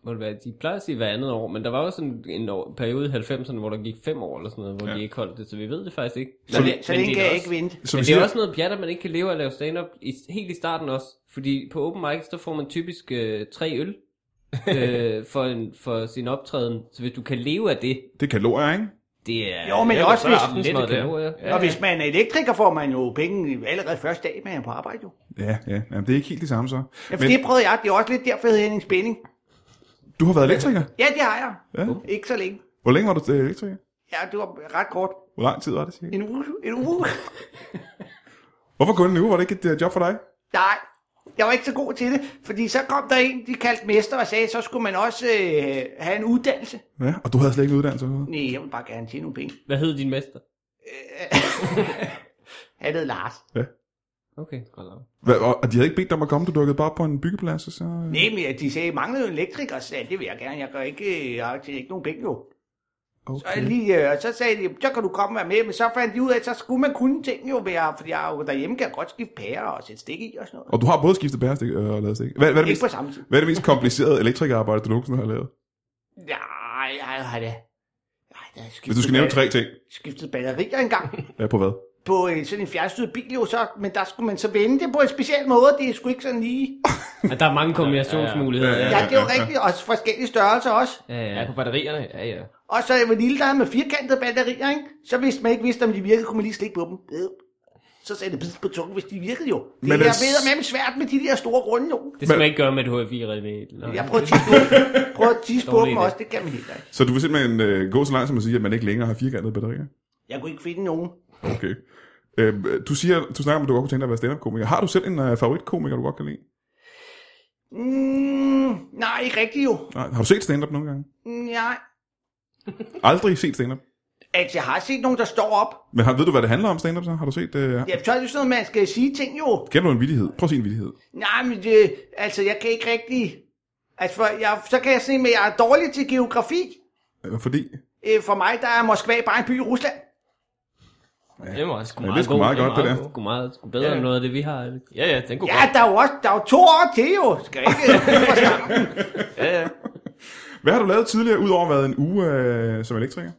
B: Må det være, de plejer at sige hver andet år, men der var jo sådan en år, periode i 90'erne, hvor der gik fem år eller sådan noget, hvor
A: Ja.
B: ja. de ikke holdt det, så vi ved det faktisk ikke.
E: Så,
B: Men
E: det, så
B: men
E: længe
B: det
E: kan
B: er
E: jeg
B: også-
E: ikke vente.
A: Som vi
B: Men det
A: siger,
B: er også noget pjat, at man ikke kan leve af at lave stand-up i, helt i starten også. Fordi på open mic, der får man typisk øh, tre øl øh, for, en, for sin optræden. Så hvis du kan leve af det,
A: det er kalorier, ikke?
B: det er...
E: Jo, men
B: det er
E: også
B: jo
E: hvis-
B: aftensmad,
C: lidt
B: det
C: kalorier.
B: kalorier.
E: Og hvis man er elektriker, får man jo penge allerede første dag, man er på arbejde jo.
A: Ja, ja. Jamen, det er ikke helt det samme så.
E: Ja, for
A: Men
E: det prøvede jeg. Det er også lidt derfor, jeg hedder Henning Spænding.
A: du har været elektriker.
E: Ja, det har jeg.
A: Ja.
E: Ikke så længe.
A: Hvor længe var du øh, elektriker?
E: Ja, det var ret kort.
A: Hvor lang tid var det, cirka?
E: En uge. En uge.
A: Hvorfor kun en uge? Var det ikke et øh, job for dig?
E: Nej, jeg var ikke så god til det. Fordi så kom der en, de kaldte mester og sagde, så skulle man også øh, have en uddannelse.
A: Ja, og du havde slet ikke en uddannelse. overhovedet.
E: Nej, jeg vil bare gerne tjene nogle
A: <laughs>
E: penge.
B: Hvad hed din mester?
E: Han hed Lars.
B: Okay, godt nok.
A: Hvad, og, og de havde ikke bedt dig om at komme, du dukkede bare op på en byggeplads, og så... øh,
E: Nej, men de sagde, manglede jo en elektriker, så sagde, jeg, det vil jeg gerne, jeg, gør ikke, øh, jeg har tjent ikke nogen penge jo. Så, jeg
A: Okay.
E: lige, øh, så sagde de, så kan du komme og være med, men så fandt de ud af, at så skulle man kunne ting jo være, fordi jeg, er jo- derhjemme kan jeg godt skifte pærer og sætte stik i og sådan noget.
A: Og du har både skiftet bærestik og lavet stik. Hvad, hvad, er det mest,
E: Ikke på samme tid.
A: hvad er det mest komplicerede elektrikerarbejde, du nogensinde har lavet?
E: Nej, jeg har da, jeg har da skiftet,
A: Hvis du skal nævne tre ting.
E: skiftet batterier
A: <laughs>
E: engang.
A: Ja, på hvad?
E: på øh, sådan en fjernstyret bil jo så, men der skulle man så vende det på en speciel måde, det er sgu ikke sådan lige.
B: Men der er mange kombinationsmuligheder.
A: Ja,
E: Ja, det er jo
A: ja, ja.
E: rigtigt, og forskellige størrelser også.
B: ja.
C: ja,
B: ja.
C: på batterierne. Ja, ja.
E: Og så var lille, der havde med firkantede batterier, ikke? Så hvis man ikke vidste, om de virkede, kunne man lige slikke på dem. Øh. Så sagde det bid på tungen, hvis de virkede jo. Det
A: Men
E: men er
A: altså-
E: bedre med dem svært med de der store runde jo.
B: Det skal
A: Men-
B: man ikke gøre med et HFI, René. Nej.
E: Jeg prøvede at tisse på dem. Prøvede at tisse på
B: Dårlig
E: dem
B: idé.
E: også, det kan man heller ikke.
A: Så du vil simpelthen øh, gå så langt som at sige, at man ikke længere har firkantede batterier?
E: Jeg kunne ikke finde nogen.
A: Okay. Øhm, du, siger, du snakker om, at du godt kunne tænke dig at være stand-up-komiker. Har du selv en øh, favoritkomiker, du godt kan lide?
E: Mm, nej, ikke rigtigt jo. Mm,
A: Nej. Har du set stand-up nogle gange?
E: Nej.
A: Aldrig set stand-up.
E: Altså, jeg har set nogen, der står op.
A: Men har, ved du, hvad det handler om stand-up så? Har du set... Øh, ja.
E: Ja, så er det jo sådan noget, man skal sige ting jo.
A: Kender du en vidighed? Prøv at sige en vidighed.
E: Nej, men det, altså, jeg kan ikke rigtig... Altså, for jeg, så kan jeg sige, at jeg er dårlig til geografi.
A: Øh, fordi...
E: Øh, for mig, der er Moskva bare en by i Rusland.
C: ja. Det var sgu
A: Ja,
C: meget
A: det er sgu meget godt, det der.
B: Sgu meget, sgu bedre
C: Ja.
B: ja. end noget af det, vi har. øh, Alex.
C: Ja, ja, den kunne
E: Ja,
C: godt.
E: der er jo også der er jo to år til jo. Skal jeg ikke for
A: <laughs>
E: skammen.
C: Ja, ja.
A: Hvad har du lavet tidligere, udover at være en uge øh, som elektriker?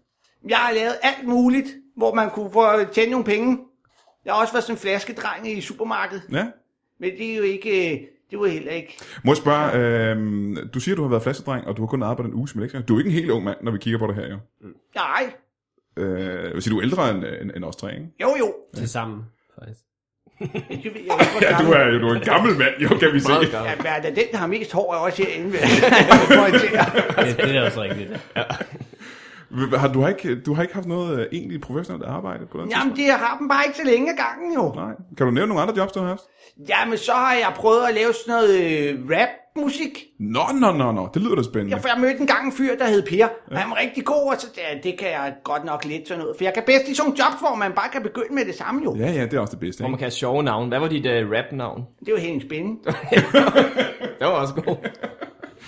E: Jeg har lavet alt muligt, hvor man kunne få tjene nogle penge. Jeg har også været sådan en flaskedreng i supermarkedet.
A: Ja.
E: Men det er jo ikke... øh, Det var heller ikke...
A: Må jeg spørge, øh, du siger, du har været flaskedreng, og du har kun arbejdet en uge som elektriker. Du er ikke en helt ung mand, når vi kigger på det her, jo.
E: Nej.
A: Øh, jeg vil sige, du er ældre end, end, end os tre, ikke?
E: Jo, jo.
B: Til sammen, faktisk.
E: Det ved jeg ikke, hvor
A: Ja, du
E: gammel-
A: er jo du er en gammel mand, jo, kan vi se.
C: Meget godt.
E: Ja, men er det den, der har mest hår, er også herinde. vil <laughs> jeg pointere.
B: <laughs> Det, det er også rigtigt.
A: Har du, har ikke, du har ikke haft noget øh, egentlig professionelt arbejde på den
E: Jamen, det har dem bare ikke så længe af gangen, jo.
A: Nej. Kan du nævne nogle andre jobs, du har haft?
E: Jamen, så har jeg prøvet at lave sådan noget øh, rap-musik.
A: Nå, nå, nå, nå. Det lyder da spændende.
E: Jeg, for jeg mødte engang en fyr, der hed Per, og han var rigtig god, og så ja, det kan jeg godt nok lidt sådan noget. For jeg kan bedst i sådan nogle jobs, hvor man bare kan begynde med det samme jo. Ja.
A: Ja, ja, det er også det bedste.
C: Hvor man
A: Ikke?
C: kan have sjove navne. Hvad var dit uh, rap-navn?
E: Det var helt spændende.
C: Det var også god.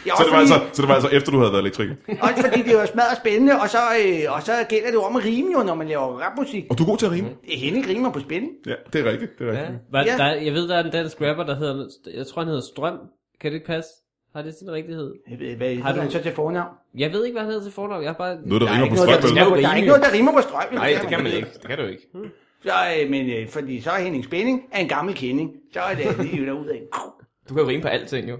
E: Ja,
A: Så
E: også,
A: det, var
E: fordi,
A: altså, så det var altså efter, du havde været elektriker.
E: også fordi det var smadret spændende, og så, øh, og så gælder det jo om at rime jo, når man laver rapmusik.
A: <laughs> Og du er god til at rime.
E: Henning rimer på spænding.
A: Ja, det er rigtigt. Det er rigtigt.
B: Var,
E: Ja.
B: ja. der, jeg ved, der er en dansk rapper, der hedder, jeg tror han hedder Strøm. Kan det ikke passe? Har det sin rigtighed?
E: Jeg ved, hvad
B: Har
E: har du
B: du-
E: så til fornavn?
B: Jeg ved ikke, hvad han hedder til fornavn. Jeg har bare...
A: Noget, der
E: Der er,
A: rimer
E: ikke
A: på
E: noget,
A: strøm.
E: der,
A: vel?
C: Det er
E: rimer,
C: jo
E: på- der
C: rimeligt.
E: er ikke noget, der rimer på strøm.
C: Nej, det kan man ikke. Det kan du ikke.
E: Så, øh, men, øh, fordi så er Henning Spænding er en gammel kending. Så er det lige derud af.
C: Du kan jo rime på alting, jo.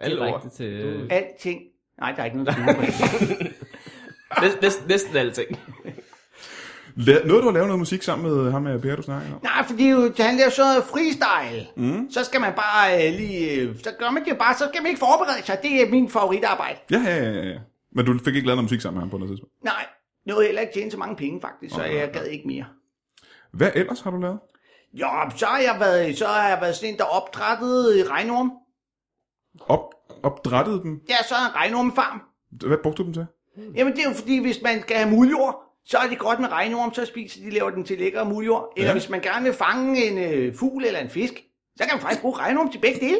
C: Alle ord.
B: Direkte til...
E: Alting. Nej, der er ikke noget, der rimer på
C: Næsten, næsten, næsten alting.
A: La- Nåede du at lave noget musik sammen med ham med Per, du snakker om?
E: Nej, fordi jo, han laver sådan noget freestyle. Mm. Så skal man bare øh, lige... Øh, så gør man det jo bare, så skal man ikke forberede sig. Det er min favoritarbejde.
A: Ja, ja, ja, ja, ja. Men du fik ikke lavet noget musik sammen med ham på noget tidspunkt?
E: Nej, nu har jeg heller ikke tjent så mange penge, faktisk, så jeg gad ikke mere.
A: Hvad ellers har du lavet?
E: Jo, så har jeg været, så har jeg været sådan en, der opdrættede regnorm.
A: Op, opdrættede dem?
E: Ja, så er en regnormefarm.
A: Hvad brugte du dem til?
E: Jamen det er jo fordi, hvis man skal have muljord, så er det godt med regnorm, så spiser de, laver den til lækre muljord. Eller
A: Ja.
E: ja. hvis man gerne vil fange en øh, fugl eller en fisk, så kan man faktisk bruge regnorm til begge dele.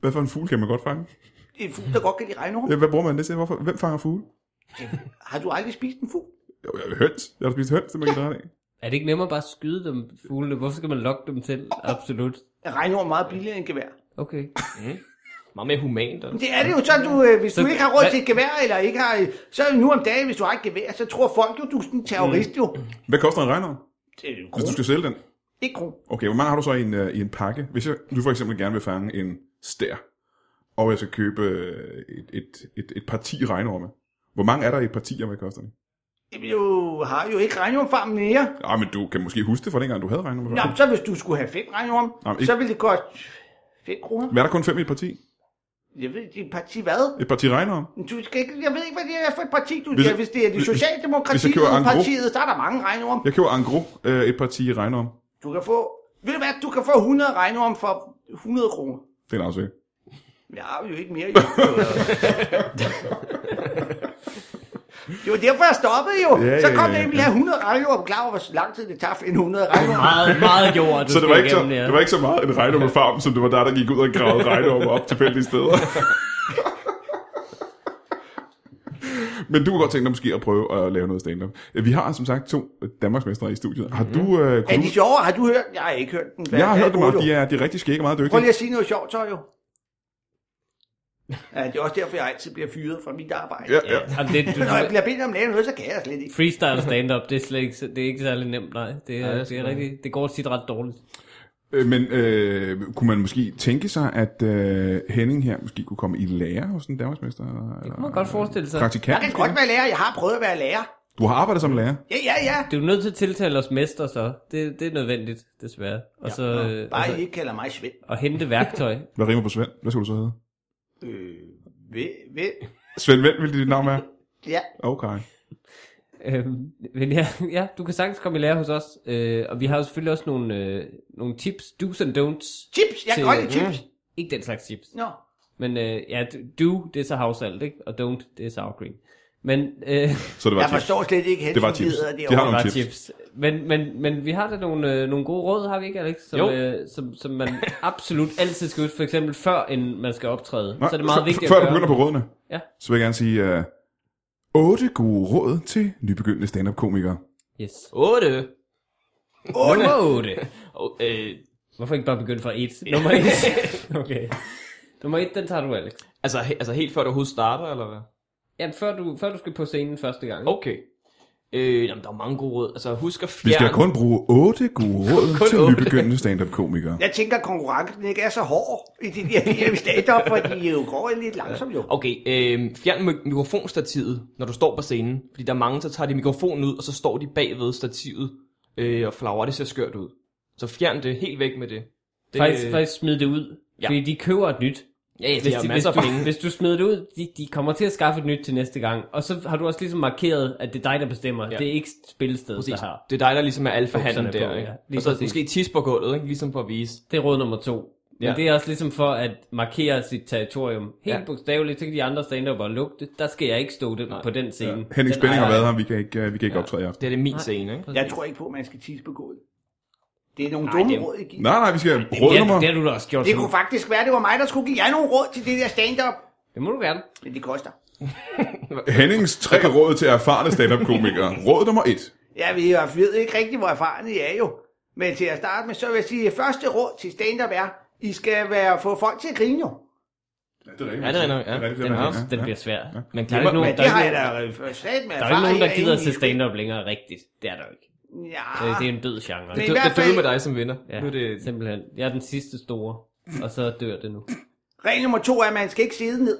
A: Hvad for en fugl kan man godt fange?
E: Det er En fugl, der godt kan lide regnorm.
A: Ja, hvad bruger man det til? Hvorfor? Hvem fanger fugle?
E: Har du aldrig spist en fugl?
A: Jo, jeg har høns. Jeg har spist høns, det man kan drætte af.
B: Er det ikke nemmere bare at skyde dem, fuglene? Hvorfor skal man lokke dem til? Absolut.
E: Er regnorm meget billigere end gevær?
B: Okay.
C: Meget mere humant. altså. Og...
E: Det er det jo så, du, øh, hvis så, du
B: Så-
E: ikke har råd
B: hvad-
E: til et gevær, eller ikke har, øh, så nu om dagen, hvis du har et gevær, så tror folk jo, du er sådan en terrorist jo.
A: Hvad koster en regnorm,
E: Det er jo
A: hvis du
E: kron.
A: skal sælge den?
E: Ikke kron.
A: Okay, hvor mange har du så i en, øh, i en pakke? Hvis jeg nu for eksempel gerne vil fange en stær, og jeg skal købe øh, et, et, et, et parti regnorme. Hvor mange er der i et parti, og hvad koster det?
E: Jamen, du har jo ikke regnormfarm mere.
A: Ah, men du kan måske huske det fra dengang, du havde regnorme.
E: Nå, så hvis du skulle have fem regnorm,
A: Nå, men ikke-
E: så ville det koste 5 kroner.
A: Men er der kun fem i et parti?
E: Jeg ved ikke, det er et parti hvad?
A: Et parti regnorme?
E: Men Du skal ikke, jeg ved ikke, hvad det er for et parti, du...
A: Hvis-
E: Hvis, ja, hvis det er det
A: hvis- hvis
E: socialdemokratiske
A: jeg køber en gruppe-
E: partiet, så er der mange regnorm.
A: Jeg køber en gro øh, et parti regnorme.
E: Du kan få... Ved du hvad, du kan få 100 regnorm for 100 kroner.
A: Det er en aftale.
E: Jeg har jo ikke mere. Jo. det var derfor, jeg stoppede jo.
A: Ja,
E: så
A: ja,
E: kom
A: ja,
E: jeg ind, ville have 100 regnorm. Klar over, hvor lang tid det tager for en 100 regnorm.
B: Meget, meget jord, du
A: Så det var,
B: skal
A: ikke så,
B: igennem, ja.
A: det var ikke så meget en
B: <laughs>
A: regnorme farm, som det var der, der gik ud og gravede regnorme op tilfældige steder. Men du kunne godt tænke dig måske at prøve at lave noget stand-up. Vi har som sagt to Danmarksmestre i studiet.
B: Mhm.
A: Har du... Øh,
E: Er
A: kunne
E: de
A: du
E: sjovere? Har du hørt? Jeg har ikke hørt den. Hvad-
A: jeg har
E: hvad
A: hørt dem,
E: bruger
A: og
E: du?
A: de er, de er rigtig skægge og meget
E: Prøv
A: dygtige.
E: lige at sige noget sjovt, så jo. Ja, det er også derfor, jeg altid bliver fyret fra mit arbejde.
A: Ja, ja.
B: Jamen, det, <laughs> du,
E: Når jeg bliver bedt om at lave noget, så kan jeg slet ikke.
B: freestyle stand-up, det er, slet ikke, det er ikke særlig nemt, nej. Det, er,
C: det er
B: det,
C: sgu-
B: er rigtig, det går tit ret dårligt.
A: Øh, Men øh, kunne man måske tænke sig, at øh, Henning her måske kunne komme i lære hos en Danmarksmester? Det
B: Kunne man godt forestille sig.
A: Praktikant?
E: Jeg kan godt være lærer. Jeg har prøvet at være lærer.
A: Du har arbejdet som lærer.
E: Ja, ja, ja.
B: Du er nødt til at tiltale os mester, så. Det, det er nødvendigt, desværre. Og, så, øh, og,
E: Bare I
B: så,
E: ikke kalder mig Svend.
B: og hente værktøj.
A: Hvad rimer på Svend? Hvad skulle du så hedde?
E: Øh, ved, ved.
A: Svend Vend ville dit navn være?
E: Ja,
A: Okay.
B: Øhm, men ja, <laughs> ja, du kan sagtens komme i lære hos os. Øh, og vi har jo selvfølgelig også nogle, øh, nogle tips, do's and don'ts.
E: chips. Jeg kan
B: Til- øh,
E: godt lide chips.
B: Ikke den slags tips.
E: Nå.
B: Men øh, ja, do, det er så havsalt, ikke? Og don't, det er sour cream. Men, øh,
A: Så det var
E: Jeg
A: tips.
E: forstår slet ikke,
A: Det var
E: hensyn
A: chips.
E: hedder
A: De
E: det
A: har
E: over.
A: nogle
B: <laughs> bare
A: tips.
B: chips. chips. Men, men, men vi har da nogle, øh, nogle gode råd, har vi ikke, Alex? Som,
C: Jo.
B: øh, som, som man absolut altid skal huske. For eksempel før, end man skal optræde.
A: Nå,
B: så er det meget
A: f-
B: vigtigt
A: Før
B: at
A: du
B: gøre.
A: begynder på rådene,
B: Ja.
A: så vil jeg gerne sige øh, 8 gode råd til nybegyndende stand-up-komikere.
B: Yes.
C: 8.
B: Nummer 8.
C: Og, øh,
B: Hvorfor ikke bare begynde fra 1? Nummer 1. Okay. Nummer 1, den tager du, Alex.
C: <laughs> altså, he, altså helt før du overhovedet starter, eller hvad?
B: Ja, før du, før du skal på scenen første gang.
C: Okay. Øh, jamen, der er mange gode råd. Altså, husk at fjerne...
A: Vi skal kun bruge 8
B: <laughs>
A: gode råd
C: Kun
A: til
C: otte.
A: nybegyndende stand-up-komikere.
E: Jeg tænker, at konkurrencen ikke er så hård i det der, <laughs> de der stand-up, for de jo går lidt langsomt jo.
C: Okay, øh, fjern mik- mikrofonstativet, når du står på scenen. Fordi der er mange, der tager de mikrofonen ud, og så står de bagved stativet øh, og flagrer. Det ser skørt ud. Så fjern det helt væk med det. det
B: Faktisk, faktisk smid det ud.
C: Ja.
B: Ja. Fordi de køber et nyt.
C: Ja, ja,
B: Hvis,
C: det er
B: de, hvis,
C: masser
B: du,
C: af penge.
B: hvis du smider det ud, de, de kommer til at skaffe et nyt til næste gang. Og så har du også ligesom markeret, at det er dig, der bestemmer.
C: Ja.
B: Ja. Det er ikke spillestedet,
C: <laughs> Præcis.
B: der har.
C: Det er dig, der ligesom er alfahanden
B: Bukserne
C: der,
B: på,
C: ikke?
B: ja.
C: Ja,
B: Lige
C: og så
B: præcis.
C: måske tis på gulvet, ikke? Ligesom for at vise.
B: Det er råd nummer to. Men
C: Ja.
B: ja. det er også ligesom for at markere sit territorium. Helt
C: Ja.
B: ja. bogstaveligt, så kan de andre stand og lugte. Der skal jeg ikke stå den, på den scene. Ja.
A: Henning Spænding har været her, vi kan ikke, øh, vi kan ikke optræde i aften.
C: Det er det er min scene, ikke?
E: Jeg tror ikke på, at man skal tisse på gulvet. Det er nogle dumme
B: det er-
E: råd, I giver.
A: Nej, nej, vi skal have råd
B: Ja,
A: nummer...
B: det har du da også gjort.
E: Det
B: Simon.
E: kunne faktisk være, det var mig, der skulle give jer nogle råd til det der stand-up.
B: det må du gerne.
E: Men det koster.
A: Hennings tre råd til erfarne
B: <laughs>
A: stand-up-komikere. Råd nummer 1.
E: Ja, vi er- vi ved ikke rigtig, hvor erfarne I er jo. Men til at starte med, så vil jeg sige, at første råd til stand-up er, I skal være, få folk til at grine jo.
C: Ja, det er nok, ja.
A: Det er rigtigt,
C: Den
A: det er rigtigt,
C: er også-
B: Den
A: ja.
B: bliver svær.
C: Man
B: Der er ikke
C: glemmer,
B: nogen,
E: Men
B: der,
E: det
B: er
E: har
B: ikke,
E: jeg da forsat med
B: der er ikke nogen, der gider til
E: stand
B: stand-up længere rigtigt. Det er der jo ikke. Øh, Det,
E: Ja,
B: det er
A: Ah.
B: en død genre.
E: Men-
C: det,
E: i
C: det,
E: hvert
C: det døde
E: fald-
C: med dig som vinder. Ja. Nu er
B: Ja,
C: det,
B: simpelthen. Jeg er den sidste store, og så dør det nu.
E: regel nummer to er, at man skal ikke sidde ned.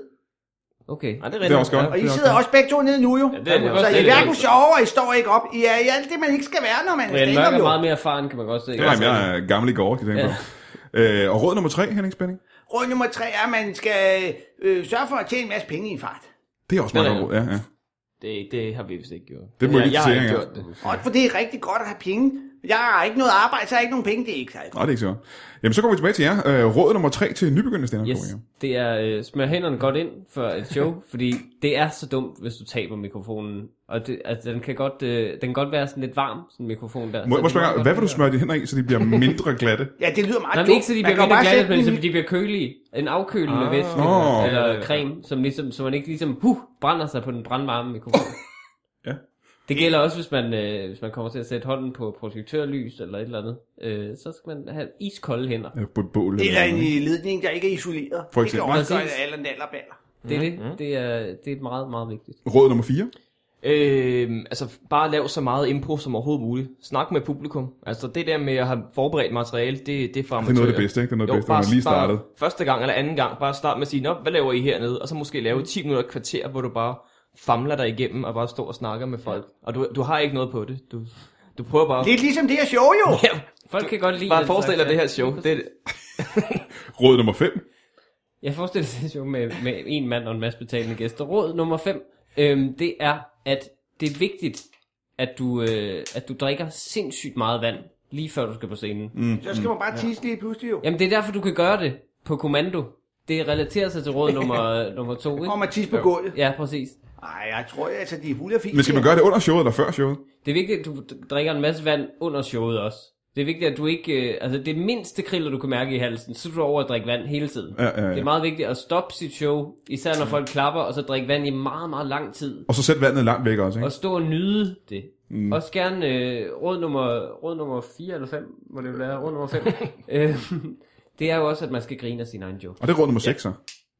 B: Okay.
C: nej, det er,
A: Det er også godt.
E: Og I sidder også begge to nede nu jo.
C: Ja, det er det
E: Så
C: også.
E: I
C: Det
E: er
C: er det
E: hverken
C: også.
E: sjove, og I står ikke op. I er i alt det, man ikke skal være, når man er
B: Brian Mørk
E: stand-up
B: er
E: jo.
B: meget mere erfaren, kan man godt se. Altså,
A: Ja, jamen, jeg er gammel i går, kan jeg tænke på. Øh, og råd nummer 3, Henning Spænding.
E: Råd nummer tre er, at man skal øh, sørge for at tjene en masse penge i en fart.
A: Det er også
C: Det er
A: meget godt råd, ja, ja.
C: det, det har vi vist ikke gjort.
A: Det må
C: jeg,
A: I lige
C: jeg har
A: se,
C: ikke
A: ja.
C: gjort det.
E: Også for det er rigtig godt at have penge. Jeg har ikke noget arbejde, så jeg har ikke nogen penge. Det er ikke særlig
A: Nej, det er ikke så godt. Jamen, så kommer vi tilbage til jer. Øh, råd nummer tre til nybegyndende stand
B: Yes, det er øh, smør hænderne godt ind for et
A: <laughs>
B: show, fordi det er så dumt, hvis du taber mikrofonen. Og det, altså, den, kan godt, øh, den kan godt være sådan lidt varm, sådan en mikrofon der.
A: Må
B: Så
A: jeg må spørge,
B: det må
A: jer,
B: Altså, godt
A: hvad
B: være-
A: vil du smøre dine hænder i, så de bliver mindre glatte?
E: Ja, det lyder meget
B: Nej, men
E: dumt.
B: ikke så de
E: Man
B: bliver
E: kan jo
B: mindre
E: bare
B: glatte,
E: sætte
B: men så
E: den-
B: de bliver kølige. En afkølende
C: Ah.
B: ah, væske
A: Nå.
B: eller
C: Ja, ja, ja.
B: creme, som ligesom, så man ikke ligesom huh, brænder sig på den brandvarme mikrofon.
A: Ja.
B: Det gælder også, hvis man, øh, hvis man kommer til at sætte hånden på projektørlys eller et eller andet. Øh, så skal man have iskolde hænder.
A: Øh, På et bål.
E: Eller en
A: noget.
E: øh, ledning, der ikke er isoleret.
A: For
E: Det kan
A: eksempel.
E: også gøre
B: Præcis.
E: aller nallerballer.
B: Det er
A: Mhm.
B: det. Det er, det er meget, meget vigtigt.
A: Råd nummer 4.
C: Øh, altså, bare lav så meget impro som overhovedet muligt. Snak med publikum. Altså, det der med at have forberedt materiale, det, det er fra
A: Det er noget af det bedste, ikke? Det er noget af det bedste, når man lige startede.
C: Bare første gang eller anden gang, bare start med at sige, Nå, hvad laver I hernede? Og så måske lave 10 minutter et kvarter, hvor du bare famler dig igennem og bare står og snakker med folk. Og du, du har ikke noget på det. Du, du prøver bare...
E: Det er ligesom det her show, jo.
C: Ja,
B: Folk kan godt lide...
C: bare
B: den
C: forestil dig
B: slags,
C: det
B: ja.
C: her show. Det,
A: Råd nummer 5.
B: Jeg forestiller mig det show med, med en mand og en masse betalende gæster. Råd nummer 5, øhm, det er, at det er vigtigt, at du, øh, at du drikker sindssygt meget vand, lige før du skal på scenen. Mm.
E: Så skal man bare tisse lige pludselig, jo.
B: Jamen, det er derfor, du kan gøre det på kommando. Det relaterer sig til
A: <laughs>
B: råd nummer, nummer to,
E: Og
B: ikke?
E: man tisse på gulvet.
B: Ja, præcis.
E: Ej, jeg tror altså, de er fulde af fint.
A: Men skal man gøre det under showet eller før showet?
B: Det er vigtigt, at du d- drikker en masse vand under showet også. Det er vigtigt, at du ikke... Øh, altså, det mindste kriller, du kan mærke i halsen, så er du over at drikke vand hele tiden.
A: Ja, ja, ja.
B: Det er meget vigtigt at stoppe sit show, især når folk klapper, og så drikke vand i meget, meget lang tid.
A: Og så sæt vandet langt væk også, ikke?
B: Og stå og nyde det. Mm. Også gerne øh, råd, nummer, råd nummer 4 eller 5, må det jo være,
A: <laughs>
B: råd nummer 5. øh, det er jo også, at man skal grine af sin egen joke.
A: Og det er råd nummer 6, så.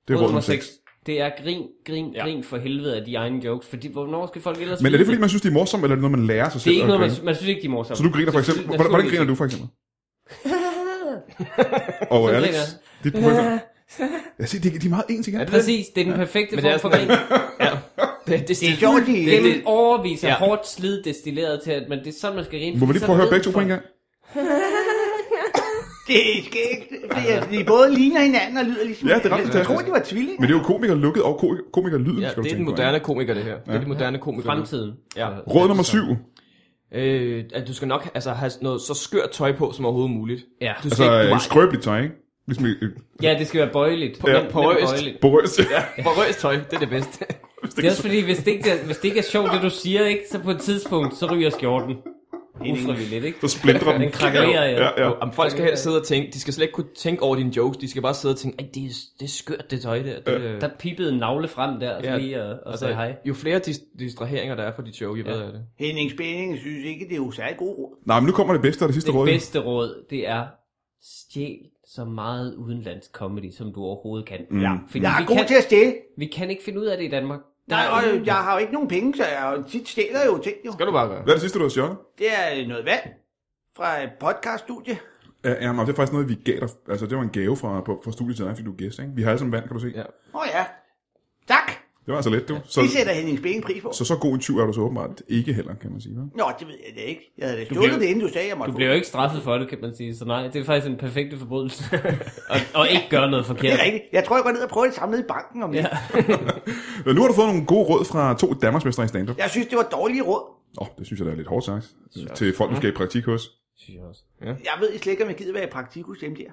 A: Det er råd nummer 6.
B: det er grin, grin, ja. grin for helvede af de egne jokes. Fordi hvornår skal folk ellers
A: Men er
B: vide
A: det fordi, man synes, de er morsomme, eller er det noget, man lærer sig
B: det
A: selv?
B: er ikke
A: at
B: noget, man,
A: grine?
B: man synes ikke, de er morsomme.
A: Så du griner for eksempel... Hvordan, hvordan griner du for eksempel? Og
B: Sådan
A: Alex,
B: griner jeg.
A: dit problem. Jeg siger, de, de er meget ens igen.
C: Er det det?
B: Præcis, det er den perfekte
C: Men det er
B: form for
C: sådan-
B: grin.
C: det, det,
E: Det er sjovt, de...
B: Det er en overvis af
C: Ja.
B: hårdt slid destilleret til, at men det er sådan, man skal grine.
A: Må vi
B: fordi
A: lige
B: så
A: prøve at høre
B: ved
A: begge to på en
B: folk-
A: gang?
E: Det er skægt. fordi at De både ligner hinanden og lyder ligesom...
A: Ja, det er ret
E: Jeg tror,
A: fantastisk.
E: de var tvillinger.
A: Men det er jo komiker lukket og ko- komiker lyden,
C: Ja,
A: skal du
C: det er
A: tænke
C: den
A: på,
C: moderne komiker, det her. Det er de moderne komikere.
B: Fremtiden.
C: Ja.
B: Så-
A: ikke? Råd nummer 7.
C: Øh, at du skal nok altså, have noget så skørt tøj på som overhovedet muligt.
B: Ja.
C: Du
A: Altså,
C: skal ikke, du
A: øh, skrøbeligt tøj, ikke? Ligesom i øh,
B: Ja, det skal være bøjeligt.
C: Ja.
B: Men-
C: Porøst.
B: bøjeligt.
A: porøst. Ja.
C: Porøst tøj, det er det bedste.
B: Det er også fordi, hvis det, ikke er, hvis det ikke er sjovt, det du siger, ikke, så på et tidspunkt, så ryger skjorten. Ufrivilligt, ikke?
A: <laughs> Så splindrer den.
B: Den krakelerer, ja.
A: Ja, ja.
C: Om folk skal helst sidde og tænke, de skal slet ikke kunne tænke over dine jokes, de skal bare sidde og tænke, "Ej, det er, det er skørt det tøj der. Det, øh,
B: Der pippede en navle frem der,
C: Ja.
B: ja. lige og, og
E: altså,
B: sagde hej.
C: Jo flere dis- distraheringer der er for dit show, jo bedre er det.
E: Henning Spænding synes ikke, det er jo særlig god råd.
A: Nej, men nu kommer det bedste og det sidste
B: Det
A: råd.
B: bedste råd, det er, stjæl så meget udenlandsk comedy, som du overhovedet kan. Ja. Fordi
E: Mm. Jeg
B: vi,
E: er god
B: kan,
E: til at stjæle.
B: vi kan ikke finde ud af det i Danmark. Der
E: Nej,
B: er
E: og
B: ingen-
E: jeg har jo ikke nogen penge, så jeg tit stjæler jo ting, jo.
C: Skal du bare gøre.
A: Hvad er det sidste, du har sjovt?
E: Det er noget vand fra et podcaststudie.
A: Ja, ja, men det er faktisk noget, vi gav dig. Altså, det var en gave fra, på, fra studiet til dig, fordi du er gæst, ikke? Vi har alle sammen vand, kan du se.
C: Ja.
E: Åh oh, ja. Tak.
A: Det var altså let, du. Så,
E: Det sætter Henning Spænding pris på.
A: så, så god en tyv er du så åbenbart ikke heller, kan man sige. Hva'?
E: Nå, det ved jeg da ikke. Jeg havde da stjålet
B: blev-
E: det, inden du sagde, jeg måtte
B: Du
E: få
B: bliver jo ikke straffet for det, kan man sige. Så nej, det er faktisk en perfekt
E: <laughs>
B: forbrydelse. og, og ikke gøre noget
E: Det
B: forkert.
E: er rigtigt. Jeg tror, jeg går ned og prøver det samlet i banken om det.
B: Ja.
A: Men nu har du fået nogle gode råd fra to Danmarksmestre i stand-up. Åh,
E: Jeg synes, det var dårlige råd.
A: ja. oh, det synes jeg, der er lidt hårdt sagt. Til folk, du skal i praktik hos.
B: Synes jeg også.
E: Jeg ved slet ikke, om jeg gider være i praktik hos dem der.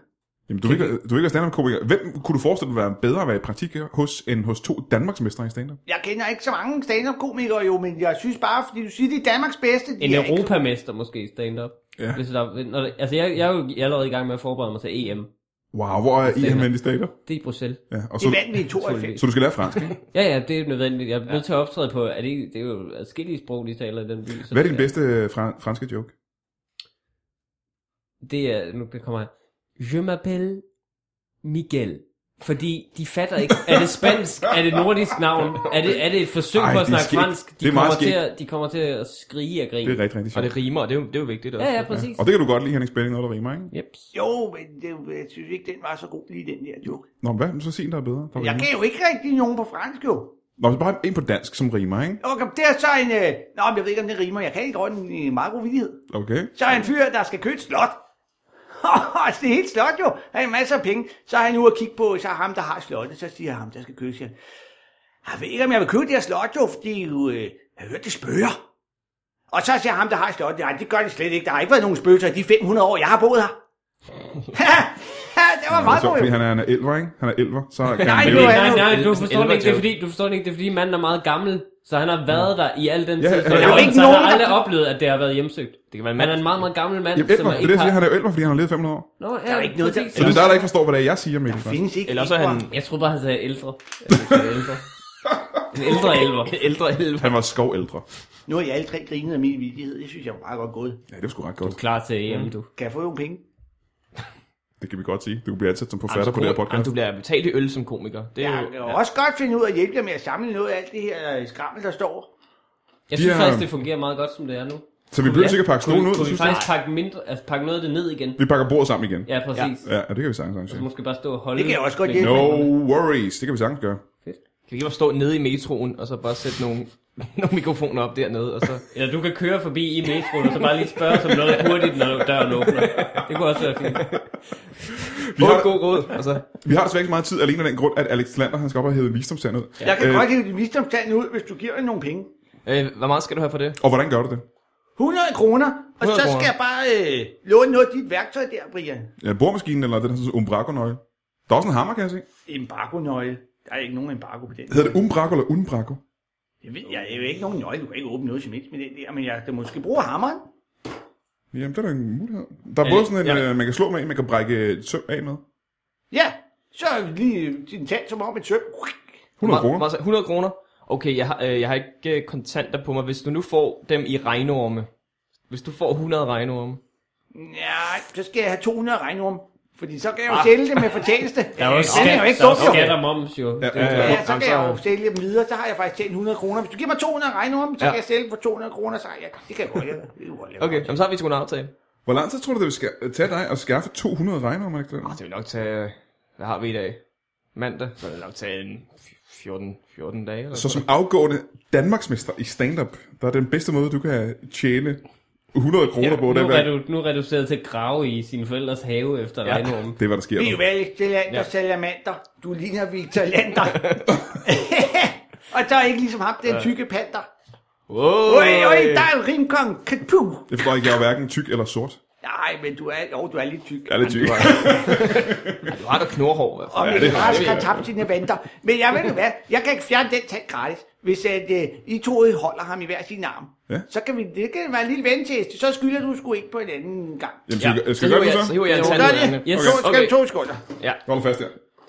A: Jamen, du er ikke, du er ikke stand-up-komiker. Hvem kunne du forestille dig være bedre at være i praktik hos, end hos to Danmarksmestre i stand-up?
E: Jeg kender ikke så mange stand-up-komikere jo, men jeg synes bare, fordi du siger, det er Danmarks bedste. De
B: En
E: er
B: ja,
E: ikke-
B: europamester måske i stand-up.
A: Ja.
B: Hvis der, når, det- altså jeg, jeg er jo allerede i gang med at forberede mig til EM.
A: Wow, hvor er I
B: Stand-up.
A: henne i stand-up?
B: Det er i Bruxelles.
A: Ja, og
E: Det
A: så,
E: vandt vi i 92.
A: så du skal lære fransk, ikke?
B: Ja, ja, det er nødvendigt. Jeg er nødt til at optræde på, at det, det er jo adskillige sprog, de taler i den by. Så
A: Hvad er din
B: det
A: bedste øh, fra, franske joke?
B: Det er, nu kommer jeg. Je m'appelle Miguel. Fordi de fatter ikke, er det spansk, er det nordisk navn, er det, er det et forsøg
A: Ej,
B: på at
A: det er
B: snakke
A: skægt.
B: fransk, de,
A: Det er meget
B: kommer til
A: skægt.
B: at, de kommer til at skrige og
A: Det
B: grine.
A: er rigtig, rigtig
C: Og
A: sjovt.
C: det rimer, og det er jo, det er jo vigtigt også.
B: Ja, ja, præcis.
A: Og det kan du godt lide, Henning Spænding, noget der rimer, ikke?
B: Yep.
E: Jo, men det, jeg synes ikke, den var så god lige den der joke.
A: Nå, men hvad? Men Så sig en, der er bedre. Der
E: Jeg
A: rimer.
E: gav jo ikke rigtig nogen på fransk jo.
A: Nå, så bare en på dansk, som rimer, ikke?
E: Okay, det er så en... Øh... Nå, men jeg ved ikke, om det rimer. Jeg kan ikke godt en, en meget god vidighed.
A: Okay.
E: Så er en fyr, der skal købe et slot. <laughs> Altså, det er helt slot jo. Han har masser af penge. Så er han ude og kigge på, så er ham, der har slottet. Så siger ham, der skal købe, siger, han, jeg ved ikke, om jeg vil købe det her slot jo, fordi øh, jeg har hørt, det spøger. Og så siger ham, der har slottet, nej, det gør det slet ikke. Der har ikke været nogen spøgelser i de 500 år, jeg har boet her. <laughs> det var meget
A: Så, Altså,
E: godt.
A: fordi
E: jo.
A: han er, han er elver, ikke? Han er elver, så kan
E: Nej,
A: han
E: nu
A: leve.
E: er-
A: i-
B: Nej, nej,
C: en-
B: du
C: en
B: forstår det ikke, det er
C: elvertæve.
B: fordi, du forstår det ikke, det er fordi manden er meget gammel, så han har været der i al den
A: Ja,
B: tid. så
A: ja, ja.
B: han-
A: Der er jo
E: ikke
B: så han
E: nogen,
B: har
E: der-
B: aldrig oplevet, at det har været hjemsøgt.
C: Det kan være en
B: Han
C: mand.
B: er en meget, meget gammel mand,
A: Jamen,
B: som
A: elver. Det er det,
B: ikke
A: jeg siger.
B: har...
A: Han er jo elver, fordi han har levet 500 år.
B: Nå, ja,
E: Der er ikke noget, der-
B: præcis.
A: Så det er dig, der ikke forstår, hvad det er, jeg siger, Mikkel. faktisk.
E: Findes ikke.
C: Eller så
E: <laughs>
C: er han
E: ikke,
B: Jeg troede bare, han sagde ældre. Eller ældre. En ældre elver.
C: <laughs> ældre elver.
A: Han var skovældre.
E: bror. Nu har jeg alle tre grinet af min vidighed. Det synes jeg var meget godt gået.
A: Ja, det var sgu ret godt.
B: Klar til EM, du.
E: Kan jeg få nogle penge?
A: Det kan vi godt sige. Du bliver ansat som forfatter på det her podcast.
C: Du bliver betalt i øl som komiker. Det er
E: Jeg
C: jo,
E: kan jo også godt finde ud af at hjælpe jer med at samle noget af alt det her øh, skrammel, der står.
B: Jeg synes
A: Ja.
B: faktisk, det fungerer meget godt, som det er nu.
A: Så vi behøver sikkert pakke stolen ud.
B: Kunne vi
A: synes jeg.
B: faktisk pakke, mindre, altså pakke noget af det ned igen?
A: Vi pakker bordet sammen igen.
B: Ja, præcis.
A: Ja, og det kan vi sagtens arrangere.
B: Så måske bare stå og holde.
E: Det kan jeg også godt
B: Men-
E: hjælpe.
A: No worries. Det kan vi sagtens gøre.
C: kan vi ikke bare stå nede i metroen, og så bare sætte nogle, <laughs> nogle mikrofoner op dernede, og så...
B: Eller du kan køre forbi i metroen, og så bare lige spørge som noget hurtigt, når døren åbner. Det kunne også være fint.
A: Vi har,
C: Åh, god råd, og så...
A: vi har desværre ikke så meget tid alene af den grund, at Alex Lander, han skal op og hæve visdomstand ud.
E: Jeg kan
A: Øh.
E: godt hive din visdomstand ud, hvis du giver mig nogle penge.
C: Øh, hvor meget skal du have for det?
A: Og hvordan gør du det?
E: 100 kroner, og
C: 100
E: så
C: kroner.
E: skal jeg bare øh, låne noget af dit værktøj der, Brian.
A: Ja, boremaskinen eller den her sådan umbraco-nøgle? Der er også en hammer, kan jeg se.
E: Embargo-nøgle. Der er ikke nogen embargo på den.
A: Hedder det umbraco eller unbraco?
E: Jeg, ved, jeg er jo ikke nogen nøgle, du kan ikke åbne noget som helst med den der, men jeg kan måske bruge hammeren.
A: Jamen, det er da en mulighed. Der er både sådan en,
C: ja.
A: øh, man kan slå med en, man kan brække et søm af med.
E: Ja, så lige din tand som om et søm.
A: 100 kroner.
C: Hvor- hvor- 100 kroner? Okay, jeg har, øh, jeg har ikke øh, kontanter på mig. Hvis du nu får dem i regnorme, hvis du får 100 regnorme,
E: Ja, så skal jeg have 200 regnorm. Fordi så kan jeg jo sælge det med fortjeneste. Der er den er jo ikke
B: der
E: dum,
B: er
E: jo.
B: skat og moms, jo. Det er-
A: ja.
E: Ja, så
C: Jamen,
E: kan jeg jo
C: så-
E: sælge dem videre. Så har jeg faktisk tjent 100 kroner. Hvis du giver mig 200 regnorm, så
C: Ja.
E: kan jeg sælge dem for 200 kroner. Så ja, det kan jeg godt. Ja, det kan jeg godt lave.
C: okay, jamen, så har vi sgu en aftale.
A: Hvor lang tid tror du, det vil ska- tage dig at skaffe 200 regner, om ikke det?
C: Det vil nok tage, øh, hvad har vi i dag? Mandag, så vil det nok tage en f- 14, 14 dage. Eller
A: Så som afgående Danmarksmester i stand-up, der er den bedste måde, du kan tjene 100 kroner ja, på.
B: Nu,
A: Det,
B: er
A: er,
B: du, nu er reduceret til at grave i sine forældres have efter ja. regnormen.
A: det er, hvad der sker.
E: Vi er jo
A: nu.
E: vel til land, der
C: Ja.
E: salamander. Du ligner Victor
A: <laughs>
E: Lander. og der er ikke ligesom ham, den tykke panter.
C: Wow.
E: Oj, oj, der er en rimkong. Kapu.
A: Jeg forstår ikke, jeg er hverken tyk eller sort.
E: Nej, men du er, jo, du er lidt tyk.
A: Jeg er lidt tyk.
C: Du har da knorhår, i hvert fald.
E: Og ja,
A: det
E: Mikkel
A: har
E: Rask
A: vi.
E: har tabt sine vanter. Men jeg ved du hvad, jeg kan ikke fjerne den tand gratis, hvis at, øh, I to holder ham i hver sin arm.
A: Ja.
E: Så kan vi, det kan være en lille ventest. Så skylder du sgu ikke på en anden gang.
A: Jamen, skal, ja,
B: Ja,
A: vi, skal vi
C: hiver
A: gøre det nu
C: jeg, så
A: så?
C: hiver jeg en
E: Jo,
C: tand
E: gør
C: ud af
E: det.
C: den.
B: Yes.
E: Så skal
C: Okay.
E: vi to skulder.
A: Hold fast der.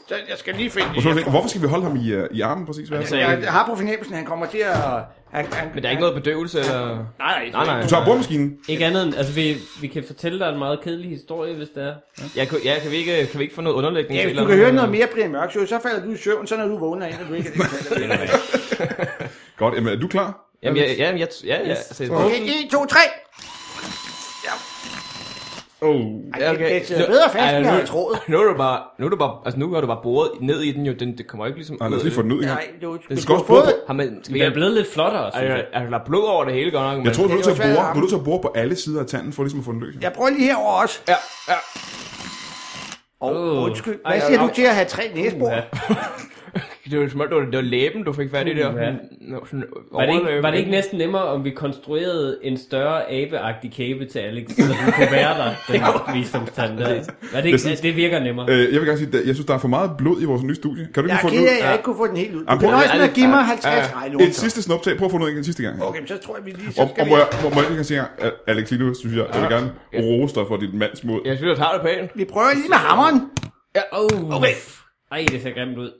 E: Så jeg skal lige finde
A: Og så vil jeg tænke, hvorfor skal vi holde ham i, øh, i armen præcis? Hvad er det?
C: Altså,
E: Jeg har på fornemmelsen, at han kommer til at... Han, han,
C: Men der er ikke noget bedøvelse, eller...
E: Nej,
C: Nej, nej.
A: Du tager boremaskinen.
B: Ikke andet end, altså vi, vi kan fortælle dig en meget kedelig historie, hvis det er.
C: Jeg, kan, ja, kan, vi ikke, kan vi ikke få noget underlægning?
E: Ja,
C: til
E: hvis
C: et
E: du
C: eller
E: kan
C: andet?
E: høre noget mere, Brian Mørk Show, så falder du i søvn, så når du vågner ind, og du ikke kan
A: Godt, jamen, er du klar?
C: Jamen, jeg, ja, jeg, ja, ja,
B: Yes.
C: altså,
E: Okay, 1, 2, 3.
A: Oh.
E: Ej, det- det sidder bedre fast,
C: Ej,
E: end jeg
C: nu-
E: havde troet.
C: Nu er du bare, nu er du bare, altså nu har du bare boret ned i den jo, den, det kommer ikke ligesom...
A: Ej, lad os lige få den ud i gang.
E: Nej, det var
A: Den skal
E: du
A: også
E: har fået-
A: blod
C: Har man, skal vi
B: Vi er
C: ikke...
B: blevet lidt flottere, synes jeg.
C: Er, er der blod over det hele godt nok? men-
A: Jeg tror, du er nødt til at
E: Det er jo
A: bore,
E: svært at
A: du er nødt til at bore på alle sider af tanden, for ligesom at få den løs.
E: Jeg prøver lige herover også.
C: Ja, ja.
E: Og
B: Åh.
E: undskyld,
B: Ej,
E: hvad
B: ej,
E: siger
B: ej.
E: du til at have tre næsebor?
B: Uha.
C: Det var, som om, det var, det var læben, du fik fat i der.
B: Uha.
C: Nå, sådan
B: Var det, ikke,
C: overlæben.
B: var det ikke næsten nemmere, om vi konstruerede en større abeagtig kæbe til Alex,
C: <laughs>
B: så den kunne være der, den her visdomstand der? Var det, ikke, det virker nemmere.
A: Øh, jeg vil gerne sige, at jeg synes, der er for meget blod i vores nye studie. Kan du ikke
E: Jeg er
A: få den
E: ked
A: ud?
E: af, at jeg ikke kunne få den helt ud. Du
A: Jamen,
E: kan
A: prøv-
E: også med at give mig 50
A: Et
E: regnord.
A: sidste snuptag. Prøv at få noget en sidste gang.
E: Okay, men så tror jeg, vi lige...
A: Og,
E: Så skal
A: og
E: vi,
A: må jeg, må, må jeg ikke sige, at Alex Lino, synes jeg, jeg vil gerne rose dig for dit mandsmod.
C: Jeg synes, jeg tager det pænt.
E: vi prøver lige med hammeren.
B: Ja, oh.
E: Okay.
B: Ej, det ser grimt ud.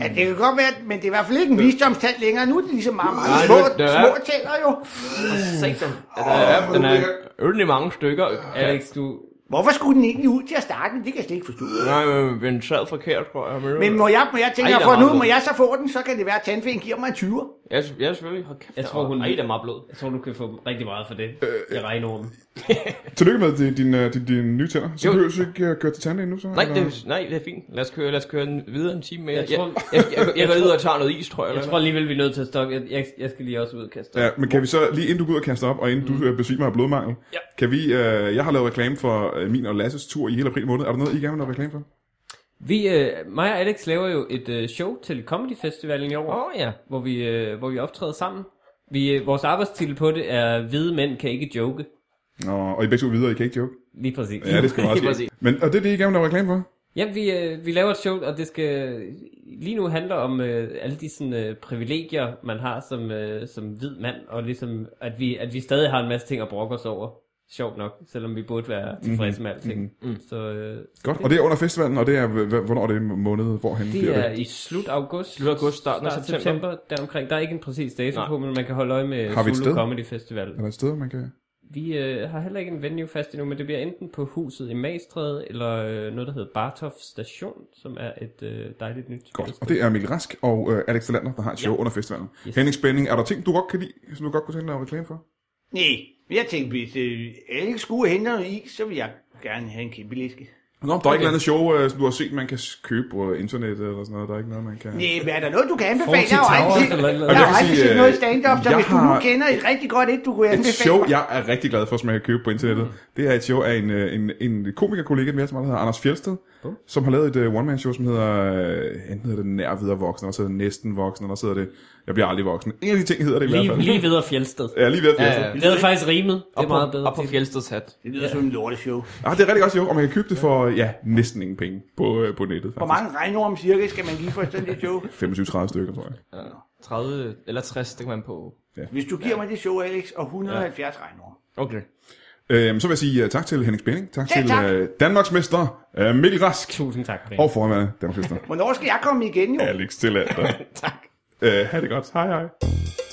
E: Ja, det kan godt være, men det er i hvert fald ikke en visdomstand længere. Nu er det ligesom meget, meget
C: Nej,
E: små,
C: det er-
E: små tænder jo.
C: Ja, der er, den er øl i mange stykker. Ja,
B: Alex, du...
E: Hvorfor skulle den egentlig ud til at starte med? Det kan jeg slet ikke forstå.
C: nej, men den sad forkert, tror jeg. Men,
E: Men må jeg, må jeg tænke,
C: Ej,
E: jeg
C: der
E: får
C: er
E: nu,
C: meget
E: må jeg så få den, så kan det være, at tandfæn giver mig en 20.
C: Ja, s- ja, selvfølgelig. Hold kæft,
B: Jeg
C: der
B: tror,
C: var-
B: hun-
C: Ej, der er meget blod. Øh,
B: Jeg tror, du kan få rigtig meget for det i regnormen.
A: Tillykke med din, din, øh, din, din nye tænder. Så
C: Jo.
A: behøver du ikke at køre til tanden endnu, så?
C: Nej,
A: eller?
C: det, er- nej, det er fint. Lad os køre, lad os køre en, videre en time mere.
B: Jeg
C: Jeg,
B: tror-
C: jeg, jeg, jeg, jeg går lige ud og tager noget is, tror jeg.
B: Jeg
C: eller
B: tror alligevel, vi er nødt til at stoppe. Jeg, jeg, jeg skal lige også ud og kaste op.
A: Ja, men kan vi så, lige inden du går ud og kaster op, og inden mm. du øh, besvimer af blodmangel, ja. kan vi, øh, jeg har lavet reklame for øh, min og Lasses tur i hele april måned. Er der noget, I gerne vil lave reklame for?
B: Vi, øh, mig og Alex laver jo et øh, show til Comedy Festivalen i år,
C: Åh, ja.
B: hvor, vi, øh, hvor vi optræder sammen. Vi, øh, vores arbejdstitel på det er Hvide mænd kan ikke joke.
A: Nå, og I begge to videre, I kan ikke joke.
B: Lige præcis.
A: Ja, <laughs> det skal man
C: Lige
A: også
C: præcis.
A: Men, og det er det, I gerne vil lave reklame for?
B: Ja, vi, øh, vi laver et show, og det skal lige nu handler om øh, alle de sådan, øh, privilegier, man har som, øh, som hvid mand, og ligesom, at vi, at vi stadig har en masse ting at brokke os over. Sjovt nok, selvom vi burde
A: Mhm.
B: være tilfredse med alting.
C: Mm.
B: Mm-hmm. Så øh,
A: Godt, og det er under festivalen, og det er, h- h- hvornår er det måned, hvorhen bliver
B: det er i slut august.
C: Slut august, starten af
B: Start
C: september.
B: september, september deromkring. Der er ikke en præcis dato
C: Nej.
B: på, men man kan holde øje med
A: Har vi et
B: Zulu
A: sted?
B: Comedy Festival.
A: Er der et sted, man kan...
B: Vi øh, har heller ikke en venue fast endnu, men det bliver enten på huset i Magstræde, eller øh, noget, der hedder Bartof Station, som er et øh, dejligt nyt
A: Godt.
B: spillested.
A: Og det er Mikkel Rask og øh, Alex Talander, der har et show ja. under festivalen. Yes. Henning Spænding, er der ting, du godt kan lide, som du godt kunne tænke dig at lave reklame for?
E: Nej, men jeg tænkte, hvis øh, Alex skulle hente noget is, så vil jeg gerne have en kæmpe læske.
A: Nå, der er okay. ikke noget andet show, øh, som du har set, man kan s- købe på internet eller sådan noget. Der er ikke noget, man kan...
E: Nej, men er der noget, du kan anbefale?
B: Forty
E: Jeg har jo
B: Towers
E: aldrig set-
B: eller et eller
E: jeg
B: andet.
E: har
A: Jeg kan
E: aldrig
A: sige,
E: set
A: øh,
E: noget stand-up, så
A: jeg
E: hvis du nu
A: har
E: kender et rigtig godt et, du kunne
A: Et
E: anbefale
A: show,
E: mig.
A: jeg er rigtig glad for, som jeg kan købe på internettet,
E: Mm.
A: det er et show af en, øh, en, en komikerkollega, mere som hedder Anders Fjelsted, oh. som har lavet et uh, one-man-show, som hedder, øh, enten hedder det Nær videre voksen, og så hedder det Næsten voksen, og så hedder det Jeg bliver aldrig voksen. En af de ting hedder det i hvert
B: Lige,
A: fald.
B: lige videre Fjeldsted.
A: Ja, lige ved at altså. Fjelsted.
C: Ja, ja.
B: Det havde faktisk rimet. Det er
C: Op
B: meget
C: på,
B: bedre.
C: op på Fjelsteds hat.
E: Det lyder som en lorteshow.
A: Ah, det er rigtig godt show, og man kan købe det for, ja, næsten ingen penge på, øh, på nettet.
E: Hvor mange regnorm cirka skal man give for sådan et show?
A: faktisk. 25-30 stykker, tror jeg.
C: 30 eller 60, det kan man på.
E: Hvis du giver mig det show, Alex, og 170 regnorm.
C: Okay.
A: Øhm, så vil jeg sige uh, tak til Henning Spænding, tak
E: Ja,
A: til
E: tak.
A: uh, Danmarks mester uh, Mikkel Rask,
B: Tusind tak, Brian.
A: og forhåndværende Danmarks mester
E: <laughs> Hvornår skal jeg komme igen, jo?
A: Alex Tillander.
C: Tak.
A: uh, ha' det godt, hej hej.